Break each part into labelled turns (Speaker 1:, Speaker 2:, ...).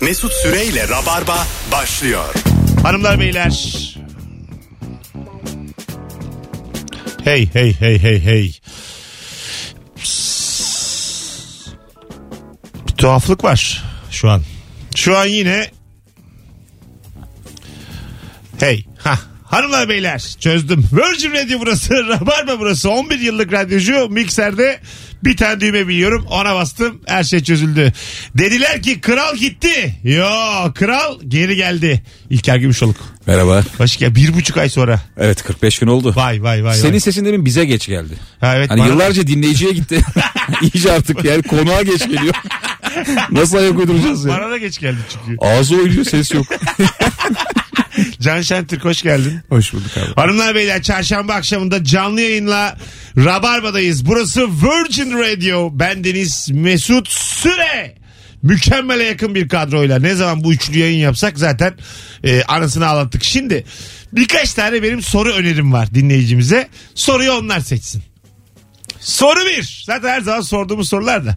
Speaker 1: Mesut Süreyle Rabarba başlıyor.
Speaker 2: Hanımlar beyler. Hey hey hey hey hey. Bir tuhaflık var şu an. Şu an yine Hey. Ha. Hanımlar beyler çözdüm. Virgin Radio burası, Rabarba burası. 11 yıllık radyocu mikserde bir tane düğme biliyorum. Ona bastım her şey çözüldü. Dediler ki kral gitti. Yo kral geri geldi. İlker Gümüşoluk.
Speaker 3: Merhaba.
Speaker 2: Hoş geldin. Bir buçuk ay sonra.
Speaker 3: Evet 45 gün oldu.
Speaker 2: Vay vay vay.
Speaker 3: Senin
Speaker 2: vay.
Speaker 3: sesin demin bize geç geldi.
Speaker 2: Ha, evet,
Speaker 3: hani
Speaker 2: bana-
Speaker 3: yıllarca dinleyiciye gitti. İyice artık yani konuğa geç geliyor. Nasıl ayak uyduracağız ya?
Speaker 2: Bana da geç geldi çünkü.
Speaker 3: Ağzı oynuyor ses yok.
Speaker 2: Can Şentürk hoş geldin.
Speaker 3: Hoş bulduk abi.
Speaker 2: Hanımlar beyler çarşamba akşamında canlı yayınla Rabarba'dayız. Burası Virgin Radio. Ben Deniz Mesut Süre. Mükemmele yakın bir kadroyla ne zaman bu üçlü yayın yapsak zaten e, anasını ağlattık. Şimdi birkaç tane benim soru önerim var dinleyicimize. Soruyu onlar seçsin. Soru bir. Zaten her zaman sorduğumuz sorular da.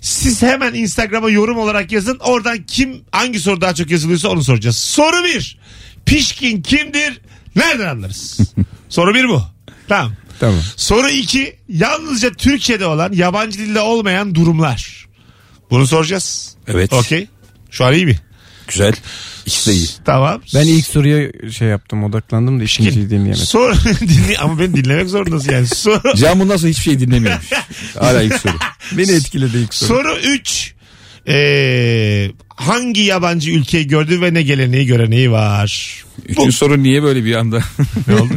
Speaker 2: Siz hemen Instagram'a yorum olarak yazın. Oradan kim hangi soru daha çok yazılıyorsa onu soracağız. Soru bir. Pişkin kimdir? Nereden anlarız? soru bir bu. Tamam.
Speaker 3: Tamam.
Speaker 2: Soru iki. Yalnızca Türkçe'de olan yabancı dilde olmayan durumlar. Bunu soracağız.
Speaker 3: Evet.
Speaker 2: Okey. Şu an iyi mi?
Speaker 3: Güzel. İkisi de iyi.
Speaker 2: Tamam.
Speaker 4: Ben ilk soruya şey yaptım odaklandım da ikinciyi dinleyemedim.
Speaker 2: Soru dinle ama beni dinlemek zorundasın yani. Soru
Speaker 3: Can bundan sonra hiçbir şey dinlemiyormuş. Hala ilk soru.
Speaker 4: Beni etkiledi ilk soru.
Speaker 2: Soru 3. hangi yabancı ülkeyi gördü ve ne geleneği göreneği var?
Speaker 3: Üçüncü soru niye böyle bir anda? ne oldu?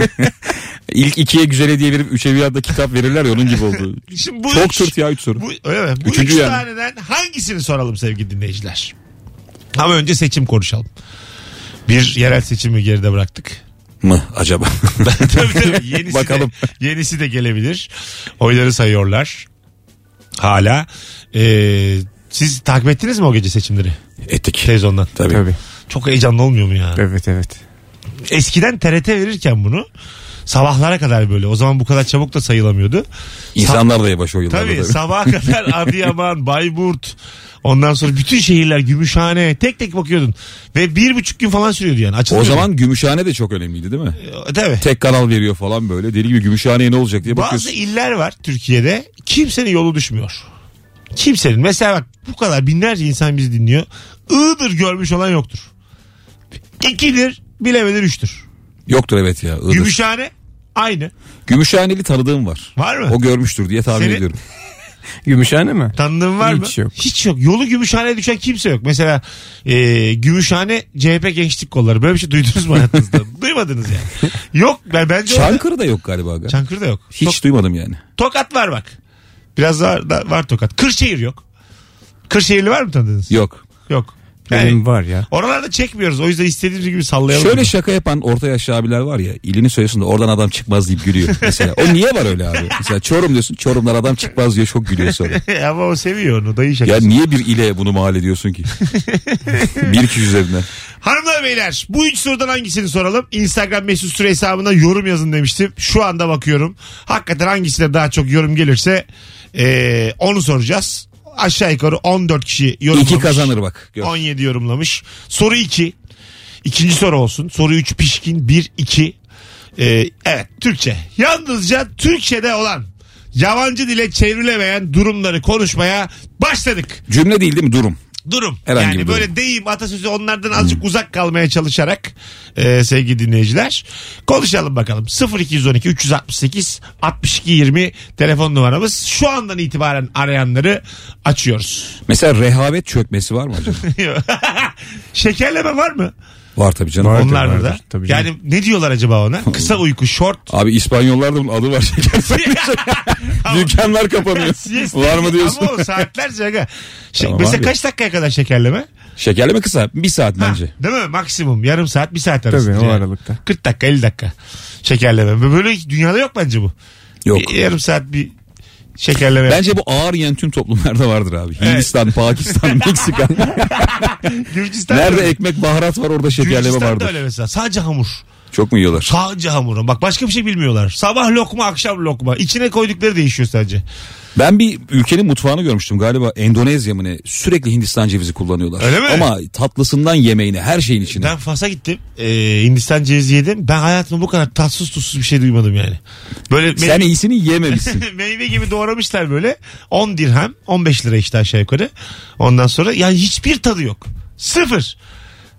Speaker 3: İlk ikiye güzel hediye verip üçe bir anda kitap verirler ya onun gibi oldu.
Speaker 2: Şimdi bu
Speaker 3: Çok
Speaker 2: üç-
Speaker 3: sırt ya üç soru.
Speaker 2: Bu, öyle mi? Bu
Speaker 3: Üçüncü
Speaker 2: üç
Speaker 3: yani.
Speaker 2: taneden hangisini soralım sevgili dinleyiciler? Ama önce seçim konuşalım. Bir yerel seçimi geride bıraktık.
Speaker 3: Mı acaba?
Speaker 2: tabii tabii yenisi
Speaker 3: Bakalım.
Speaker 2: De, yenisi de gelebilir. Oyları sayıyorlar. Hala. Ee, siz takip ettiniz mi o gece seçimleri?
Speaker 3: Etik.
Speaker 2: Televizyondan.
Speaker 3: Tabii.
Speaker 4: Tabii.
Speaker 2: Çok heyecanlı olmuyor mu ya?
Speaker 4: Evet evet.
Speaker 2: eskiden TRT verirken bunu sabahlara kadar böyle o zaman bu kadar çabuk da sayılamıyordu.
Speaker 3: İnsanlar da yavaş o yıllarda
Speaker 2: Tabii
Speaker 3: tabii.
Speaker 2: sabaha kadar Adıyaman, Bayburt ondan sonra bütün şehirler Gümüşhane tek tek bakıyordun. Ve bir buçuk gün falan sürüyordu yani.
Speaker 3: O
Speaker 2: Açılmıyordu.
Speaker 3: zaman Gümüşhane de çok önemliydi değil mi?
Speaker 2: E, tabii.
Speaker 3: Tek kanal veriyor falan böyle. Deli gibi Gümüşhane'ye ne olacak diye bakıyorsun.
Speaker 2: Bazı iller var Türkiye'de kimsenin yolu düşmüyor. Kimsenin. Mesela bak bu kadar binlerce insan bizi dinliyor. Iğdır görmüş olan yoktur. İkidir bilemedin üçtür.
Speaker 3: Yoktur evet ya. Iğdır.
Speaker 2: Gümüşhane aynı.
Speaker 3: Gümüşhaneli tanıdığım var.
Speaker 2: Var mı?
Speaker 3: O görmüştür diye tahmin
Speaker 2: Senin-
Speaker 3: ediyorum.
Speaker 4: Gümüşhane mi?
Speaker 2: Tanıdığın var mı?
Speaker 4: Hiç yok.
Speaker 2: Hiç yok. Yolu Gümüşhane'ye düşen kimse yok. Mesela e, Gümüşhane CHP gençlik kolları. Böyle bir şey duydunuz mu hayatınızda? Duymadınız yani. Yok. Ben, bence orada-
Speaker 3: Çankırı'da yok galiba. aga.
Speaker 2: Çankırı'da yok.
Speaker 3: Hiç
Speaker 2: Tok-
Speaker 3: duymadım yani.
Speaker 2: tokat var bak. Biraz var, da- var Tokat. Kırşehir yok. Kırşehirli var mı tanıdığınız?
Speaker 3: Yok.
Speaker 2: Yok. Yani
Speaker 4: Benim var ya.
Speaker 2: Oralarda çekmiyoruz. O yüzden istediğimiz gibi sallayalım.
Speaker 3: Şöyle şaka yapan orta yaşlı abiler var ya ilini söylüyorsun da oradan adam çıkmaz deyip gülüyor mesela. O niye var öyle abi? Mesela Çorum diyorsun Çorum'dan adam çıkmaz diyor çok gülüyor sonra.
Speaker 2: Ama o seviyor onu. Dayı şakası.
Speaker 3: Ya niye bir ile bunu mal ediyorsun ki? bir kişi üzerine.
Speaker 2: Hanımlar beyler bu üç sorudan hangisini soralım? Instagram mesut süre hesabına yorum yazın demiştim. Şu anda bakıyorum. Hakikaten hangisine daha çok yorum gelirse eee, onu soracağız. Aşağı yukarı 14 kişi yorumlamış.
Speaker 3: İki kazanır bak. Gör.
Speaker 2: 17 yorumlamış. Soru 2. İkinci soru olsun. Soru 3 pişkin 1 2. Ee, evet Türkçe. Yalnızca Türkçe'de olan yabancı dile çevrilemeyen durumları konuşmaya başladık.
Speaker 3: Cümle değil değil mi durum?
Speaker 2: Durum.
Speaker 3: Herhangi
Speaker 2: yani
Speaker 3: bir durum. Hmm.
Speaker 2: böyle deyim atasözü onlardan azıcık uzak kalmaya çalışarak e, sevgili dinleyiciler konuşalım bakalım. 0212 368 62 20 telefon numaramız. Şu andan itibaren arayanları açıyoruz.
Speaker 3: Mesela rehavet çökmesi var mı acaba?
Speaker 2: Şekerleme var mı?
Speaker 3: var tabii canım.
Speaker 4: Var. Vardır,
Speaker 2: Onlar da.
Speaker 4: vardır. Tabii
Speaker 2: yani ne diyorlar acaba ona? Kısa uyku, short.
Speaker 3: Abi İspanyollarda bunun adı var şeker. Dükkanlar kapanıyor.
Speaker 2: Siesta
Speaker 3: var mı
Speaker 2: değil
Speaker 3: diyorsun?
Speaker 2: Ama o saatlerce. aga. Şey,
Speaker 3: Tamam
Speaker 2: mesela
Speaker 3: abi.
Speaker 2: kaç dakikaya kadar şekerleme?
Speaker 3: Şekerleme kısa. Bir saat bence.
Speaker 2: Değil mi? Maksimum yarım saat, bir saat arası.
Speaker 4: Tabii, o
Speaker 2: Yani.
Speaker 4: aralıkta.
Speaker 2: 40 dakika, 50 dakika şekerleme. Böyle dünyada yok bence bu.
Speaker 3: Yok.
Speaker 2: Bir yarım saat bir şekerleme.
Speaker 3: Bence bu ağır yiyen tüm toplumlarda vardır abi. Hindistan, Pakistan, Meksika.
Speaker 2: Gürcistan'da-
Speaker 3: Nerede ekmek baharat var orada şekerleme
Speaker 2: Gürcistan'da
Speaker 3: vardır.
Speaker 2: öyle mesela. Sadece hamur.
Speaker 3: Çok mu yiyorlar?
Speaker 2: Sadece hamurun. Bak başka bir şey bilmiyorlar. Sabah lokma akşam lokma. İçine koydukları değişiyor sadece.
Speaker 3: Ben bir ülkenin mutfağını görmüştüm galiba Endonezya mı ne sürekli Hindistan cevizi kullanıyorlar.
Speaker 2: Öyle mi?
Speaker 3: Ama tatlısından yemeğine her şeyin içine.
Speaker 2: Ben Fas'a gittim. Ee, Hindistan cevizi yedim. Ben hayatımda bu kadar tatsız tuzsuz bir şey duymadım yani. Böyle
Speaker 3: Sen iyisini yememişsin.
Speaker 2: meyve gibi doğramışlar böyle. 10 dirhem 15 lira işte aşağı yukarı. Ondan sonra yani hiçbir tadı yok. Sıfır.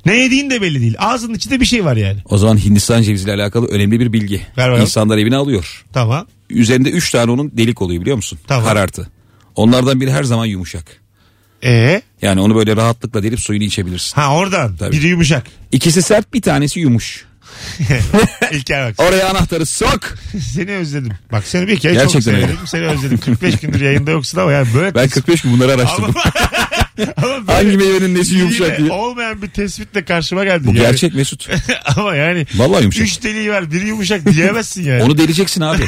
Speaker 2: Ne yediğin de belli değil. Ağzının içinde bir şey var yani.
Speaker 3: o zaman Hindistan ceviziyle alakalı önemli bir bilgi.
Speaker 2: Ver bakalım.
Speaker 3: İnsanlar evine alıyor.
Speaker 2: Tamam.
Speaker 3: Üzerinde 3 tane onun delik oluyor biliyor musun?
Speaker 2: Tamam.
Speaker 3: Karartı. Onlardan biri her zaman yumuşak.
Speaker 2: Ee,
Speaker 3: Yani onu böyle rahatlıkla delip suyunu içebilirsin.
Speaker 2: ha oradan.
Speaker 3: Tabii.
Speaker 2: Biri yumuşak.
Speaker 3: İkisi sert bir tanesi yumuş.
Speaker 2: İlker bak.
Speaker 3: Oraya anahtarı sok.
Speaker 2: Seni özledim. Bak seni bir kere çok
Speaker 3: Gerçekten
Speaker 2: sevdim. Seni özledim. 45 gündür yayında yoksun ama yani böyle
Speaker 3: Ben 45 gün bunları araştırdım.
Speaker 2: ama, ama böyle
Speaker 3: Hangi meyvenin nesi
Speaker 2: yine
Speaker 3: yumuşak diye.
Speaker 2: olmayan bir tespitle karşıma geldi.
Speaker 3: Bu
Speaker 2: yani.
Speaker 3: gerçek Mesut.
Speaker 2: ama yani
Speaker 3: Vallahi yumuşak.
Speaker 2: üç deliği var biri yumuşak diyemezsin yani.
Speaker 3: Onu deleceksin abi.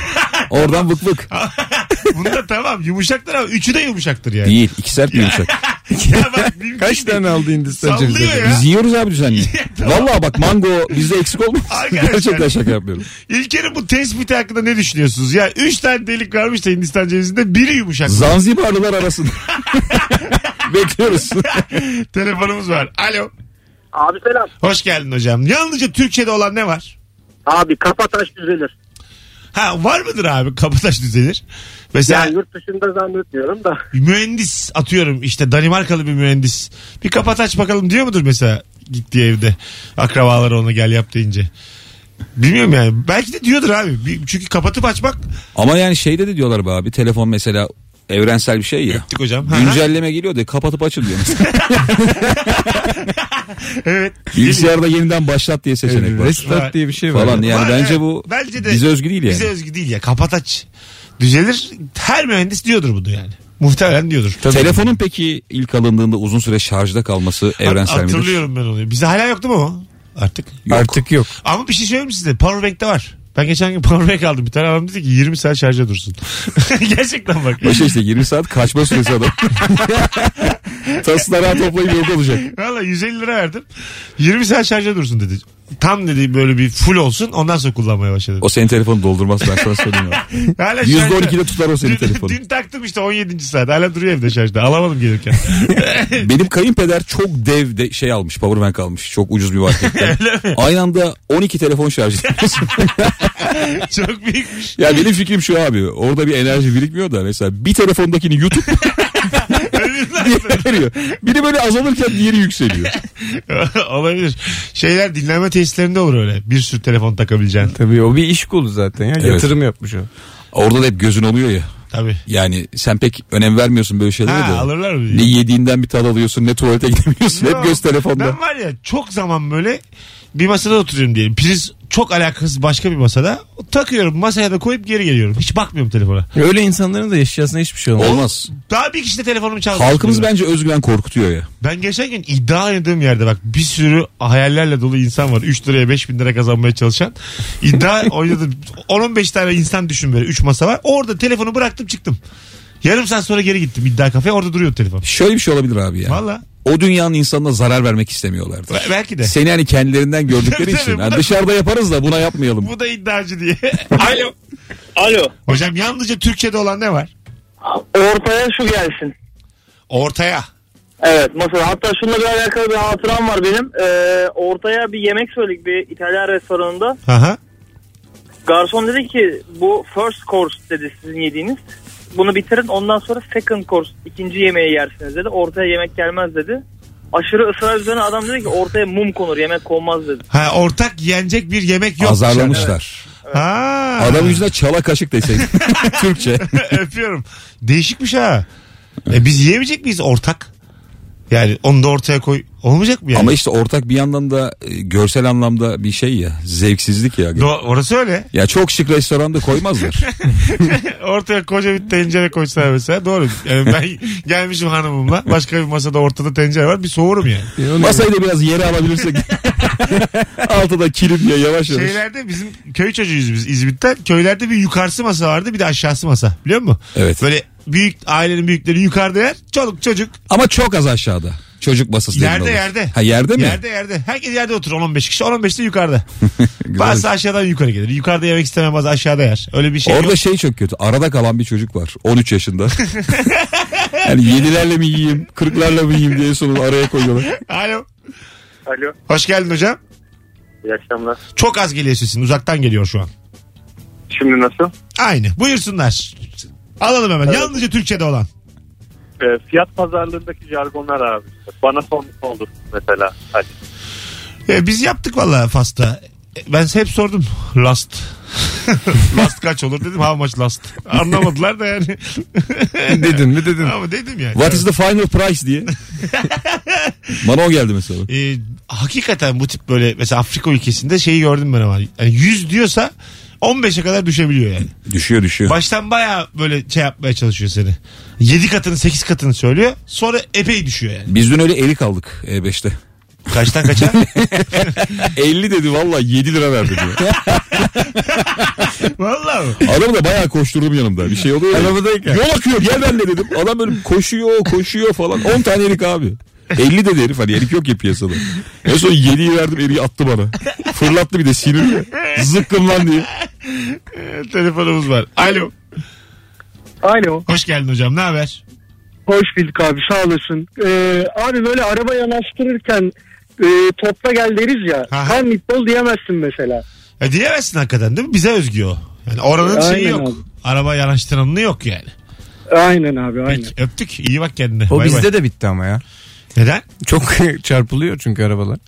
Speaker 3: Oradan vık vık.
Speaker 2: Bunda tamam yumuşaktır ama üçü de yumuşaktır yani.
Speaker 3: Değil. iki sert bir yumuşak.
Speaker 2: ya bak, mümkün
Speaker 4: Kaç
Speaker 2: değil.
Speaker 4: tane aldı Hindistan
Speaker 2: Sallıyor
Speaker 4: cevizi?
Speaker 2: ya.
Speaker 3: Biz yiyoruz abi düzenli. Vallahi bak mango bizde eksik olmaz.
Speaker 2: Arkadaşlar.
Speaker 3: Gerçekten şaka yapmıyorum.
Speaker 2: İlker'in bu tespiti hakkında ne düşünüyorsunuz? Ya üç tane delik varmış da Hindistan cevizinde biri yumuşak.
Speaker 3: Zanzibarlılar arasında. Bekliyoruz.
Speaker 2: Telefonumuz var. Alo.
Speaker 5: Abi selam.
Speaker 2: Hoş geldin hocam. Yalnızca Türkçe'de olan ne var?
Speaker 5: Abi kafa taş düzelir.
Speaker 2: Ha var mıdır abi? Kapataş düzelir. Mesela
Speaker 5: Yani yurt dışında zannetmiyorum da.
Speaker 2: mühendis atıyorum işte Danimarkalı bir mühendis. Bir kapataç bakalım diyor mudur mesela gittiği evde akrabaları ona gel yap deyince. Bilmiyorum yani. Belki de diyordur abi. Bir- Çünkü kapatıp açmak
Speaker 3: Ama yani şeyde de diyorlar be abi telefon mesela evrensel bir şey ya.
Speaker 2: Öptük hocam. Ha, ha.
Speaker 3: Güncelleme geliyor diye kapatıp açın diyor. mesela.
Speaker 2: evet.
Speaker 3: Bilgisayarda yeniden başlat diye seçenek var.
Speaker 4: Restart diye bir şey var.
Speaker 3: Falan yani
Speaker 2: Var, evet.
Speaker 3: bence bu
Speaker 2: Bence de-
Speaker 3: bize özgü değil yani.
Speaker 2: Bize özgü değil ya. Kapataç düzelir. Her mühendis diyordur bunu yani. Muhtemelen diyordur.
Speaker 3: Telefonun peki ilk alındığında uzun süre şarjda kalması evrensel midir?
Speaker 2: Hatırlıyorum ben onu. Bize hala yok değil mi o? Artık.
Speaker 4: Artık yok.
Speaker 2: Ama bir şey söyleyeyim mi size. Powerbank'te var. Ben geçen gün powerbank aldım. Bir tane adam dedi ki 20 saat şarja dursun. Gerçekten bak.
Speaker 3: Başa şey işte 20 saat kaçma süresi adam. Tasları toplayıp yok olacak.
Speaker 2: Valla 150 lira verdim. 20 saat şarja dursun dedi. Tam dedi böyle bir full olsun ondan sonra kullanmaya başladım.
Speaker 3: O senin telefonu doldurmaz ben sana söyleyeyim. abi.
Speaker 2: Hala şarjda.
Speaker 3: %12'de tutar o senin
Speaker 2: Dün,
Speaker 3: telefonu.
Speaker 2: dün taktım işte 17. saat. Hala duruyor evde şarjda. Alamadım gelirken.
Speaker 3: Benim kayınpeder çok dev de şey almış powerbank almış çok ucuz bir marketten. Aynı anda 12 telefon şarj ediyoruz.
Speaker 2: Çok büyükmüş.
Speaker 3: ya benim fikrim şu abi orada bir enerji birikmiyor da mesela bir telefondakini yutup
Speaker 2: Ömürler
Speaker 3: diğerine veriyor. Biri böyle azalırken diğeri yükseliyor.
Speaker 2: Olabilir. Şeyler dinlenme tesislerinde olur öyle. Bir sürü telefon takabileceğin.
Speaker 4: Tabii o bir iş kolu zaten ya. Yatırım yapmış o.
Speaker 3: Orada da hep gözün oluyor ya.
Speaker 2: Tabii.
Speaker 3: Yani sen pek önem vermiyorsun böyle şeylere
Speaker 2: Ha,
Speaker 3: de.
Speaker 2: alırlar mı?
Speaker 3: Ne yediğinden bir tad alıyorsun ne tuvalete gidemiyorsun.
Speaker 2: Yo,
Speaker 3: Hep göz telefonda.
Speaker 2: Ben var ya çok zaman böyle bir masada oturuyorum diyelim. Priz çok alakasız başka bir masada. Takıyorum masaya da koyup geri geliyorum. Hiç bakmıyorum telefona.
Speaker 4: Öyle insanların da yaşayasına hiçbir şey olmaz.
Speaker 3: Olmaz.
Speaker 2: Daha bir kişi de telefonumu çaldı.
Speaker 3: Halkımız bence özgüven korkutuyor ya.
Speaker 2: Ben geçen gün iddia oynadığım yerde bak bir sürü hayallerle dolu insan var. 3 liraya 5 bin lira kazanmaya çalışan. İddia oynadım. 10-15 tane insan düşün böyle 3 masa var. Orada telefonu bıraktım çıktım. Yarım saat sonra geri gittim iddia kafeye orada duruyor telefon.
Speaker 3: Şöyle bir şey olabilir abi ya.
Speaker 2: Valla
Speaker 3: O dünyanın insanına zarar vermek istemiyorlardı.
Speaker 2: Be- belki de.
Speaker 3: Seni hani kendilerinden gördükleri
Speaker 2: Tabii,
Speaker 3: için.
Speaker 2: bu
Speaker 3: Hani
Speaker 2: da-
Speaker 3: dışarıda yaparız da buna yapmayalım.
Speaker 2: Bu da iddiacı diye. Alo.
Speaker 5: Alo.
Speaker 2: Hocam yalnızca Türkiye'de olan ne var?
Speaker 5: Ortaya şu gelsin.
Speaker 2: Ortaya.
Speaker 5: Evet mesela hatta şununla bir alakalı bir hatıram var benim. Ee, ortaya bir yemek söyledik bir İtalyan restoranında.
Speaker 2: Aha.
Speaker 5: Garson dedi ki bu first course dedi sizin yediğiniz. Bunu bitirin ondan sonra second course ikinci yemeği yersiniz dedi. Ortaya yemek gelmez dedi. Aşırı ısrar üzerine adam dedi ki ortaya mum konur yemek konmaz dedi.
Speaker 2: Ha ortak yenecek bir yemek yok.
Speaker 3: Azarlamışlar.
Speaker 2: Ha.
Speaker 3: Adam yüzüne çala kaşık deseydin. Türkçe.
Speaker 2: Öpüyorum. Değişikmiş ha. E, biz yiyemeyecek miyiz ortak? Yani onu da ortaya koy. Olmayacak mı yani?
Speaker 3: Ama işte ortak bir yandan da e, görsel anlamda bir şey ya. Zevksizlik ya.
Speaker 2: Do- orası öyle.
Speaker 3: Ya çok şık restoranda koymazlar.
Speaker 2: Ortaya koca bir tencere koysalar mesela. Doğru. Yani ben gelmişim hanımımla. Başka bir masada ortada tencere var. Bir soğurum yani.
Speaker 3: Masayı da biraz yere alabilirsek. Altıda kilim ya yavaş yavaş.
Speaker 2: Şeylerde bizim köy çocuğuyuz biz İzmit'ten. Köylerde bir yukarısı masa vardı bir de aşağısı masa. Biliyor musun?
Speaker 3: Evet.
Speaker 2: Böyle büyük ailenin büyükleri yukarıda yer. Çoluk çocuk
Speaker 3: Ama çok az aşağıda. Çocuk masası dediğin
Speaker 2: Yerde,
Speaker 3: olur.
Speaker 2: yerde.
Speaker 3: Ha yerde mi?
Speaker 2: Yerde yerde. Herkes yerde oturur 10-15 kişi. 10-15 de yukarıda.
Speaker 3: Güzel.
Speaker 2: bazı aşağıdan yukarı gelir. Yukarıda yemek istemem bazı aşağıda yer. Öyle bir şey
Speaker 3: Orada
Speaker 2: yok.
Speaker 3: şey çok kötü. Arada kalan bir çocuk var. 13 yaşında. yani yedilerle mi yiyeyim, kırklarla mı yiyeyim diye sonunu araya koyuyorlar.
Speaker 2: Alo.
Speaker 5: Alo.
Speaker 2: Hoş geldin hocam.
Speaker 5: İyi akşamlar.
Speaker 2: Çok az geliyor sesin. Uzaktan geliyor şu an.
Speaker 5: Şimdi nasıl?
Speaker 2: Aynı. Buyursunlar. Alalım hemen. Yalnızca Türkçe'de olan.
Speaker 5: Ee, fiyat pazarlığındaki jargonlar abi. Bana son oldu mesela. Hadi.
Speaker 2: E, biz yaptık valla Fas'ta. E, Ben hep sordum. Last. last kaç olur dedim. How much last? Anlamadılar da yani.
Speaker 4: Dedin mi dedin.
Speaker 2: Ama dedim yani.
Speaker 3: What is the final price diye. Bana o geldi mesela.
Speaker 2: E, hakikaten bu tip böyle mesela Afrika ülkesinde şeyi gördüm ben ama. Yani 100 diyorsa 15'e kadar düşebiliyor yani.
Speaker 3: Düşüyor düşüyor.
Speaker 2: Baştan baya böyle şey yapmaya çalışıyor seni. 7 katını 8 katını söylüyor. Sonra epey düşüyor yani.
Speaker 3: Biz dün öyle E erik aldık E5'te.
Speaker 2: Kaçtan kaça?
Speaker 3: 50 dedi valla 7 lira verdi diyor.
Speaker 2: Vallahi. mi?
Speaker 3: Adam da bayağı koşturdum yanımda. Bir şey oluyor. ya.
Speaker 4: Arabadayken.
Speaker 3: Yol akıyor gel benimle dedim. Adam böyle koşuyor koşuyor falan. 10 tane erik abi. 50 dedi herif hani erik yok ya piyasada. En son 7'yi verdim eriği attı bana. Fırlattı bir de sinirli. Zıkkım lan diye.
Speaker 2: Telefonumuz var. Alo.
Speaker 6: Alo.
Speaker 2: Hoş geldin hocam. Ne haber?
Speaker 6: Hoş bulduk abi sağ olasın. Ee, abi böyle araba yanaştırırken e, topla gel deriz ya.
Speaker 2: Aha.
Speaker 6: Hem mitbol diyemezsin mesela.
Speaker 2: Ya diyemezsin hakikaten değil mi? Bize özgü o. Yani oranın
Speaker 6: Aynen
Speaker 2: şeyi yok.
Speaker 6: abi.
Speaker 2: Araba yanaştıranını yok yani.
Speaker 6: Aynen abi aynen.
Speaker 2: Peki, öptük. İyi bak kendine. Bay
Speaker 4: O
Speaker 2: bay.
Speaker 4: bizde de bitti ama ya.
Speaker 2: Neden?
Speaker 4: Çok çarpılıyor çünkü arabalar.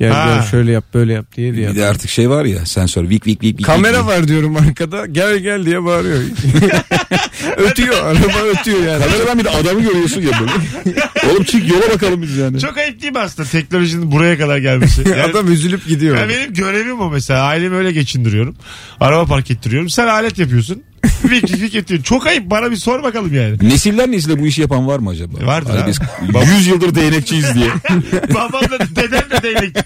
Speaker 4: Ya
Speaker 2: Ha.
Speaker 4: gel şöyle yap böyle yap diye diye.
Speaker 3: Bir de artık şey var ya sensör vik vik vik. vik
Speaker 4: Kamera
Speaker 3: vik.
Speaker 4: var diyorum arkada. Gel gel diye bağırıyor. ötüyor. Araba ötüyor yani.
Speaker 3: Kameradan bir de adamı görüyorsun ya böyle. Oğlum çık yola bakalım biz yani.
Speaker 2: Çok ayıp değil mi aslında teknolojinin buraya kadar gelmesi? Yani,
Speaker 4: Adam üzülüp gidiyor.
Speaker 2: ya benim görevim o mesela. Ailemi öyle geçindiriyorum. Araba park ettiriyorum. Sen alet yapıyorsun. Vik vik vik ettiriyorsun. Çok ayıp. Bana bir sor bakalım yani.
Speaker 3: Nesilden nesile bu işi yapan var mı acaba?
Speaker 2: Vardır
Speaker 3: Hani
Speaker 2: abi.
Speaker 3: biz 100 yıldır değnekçiyiz diye.
Speaker 2: Babam da dedem de değnek.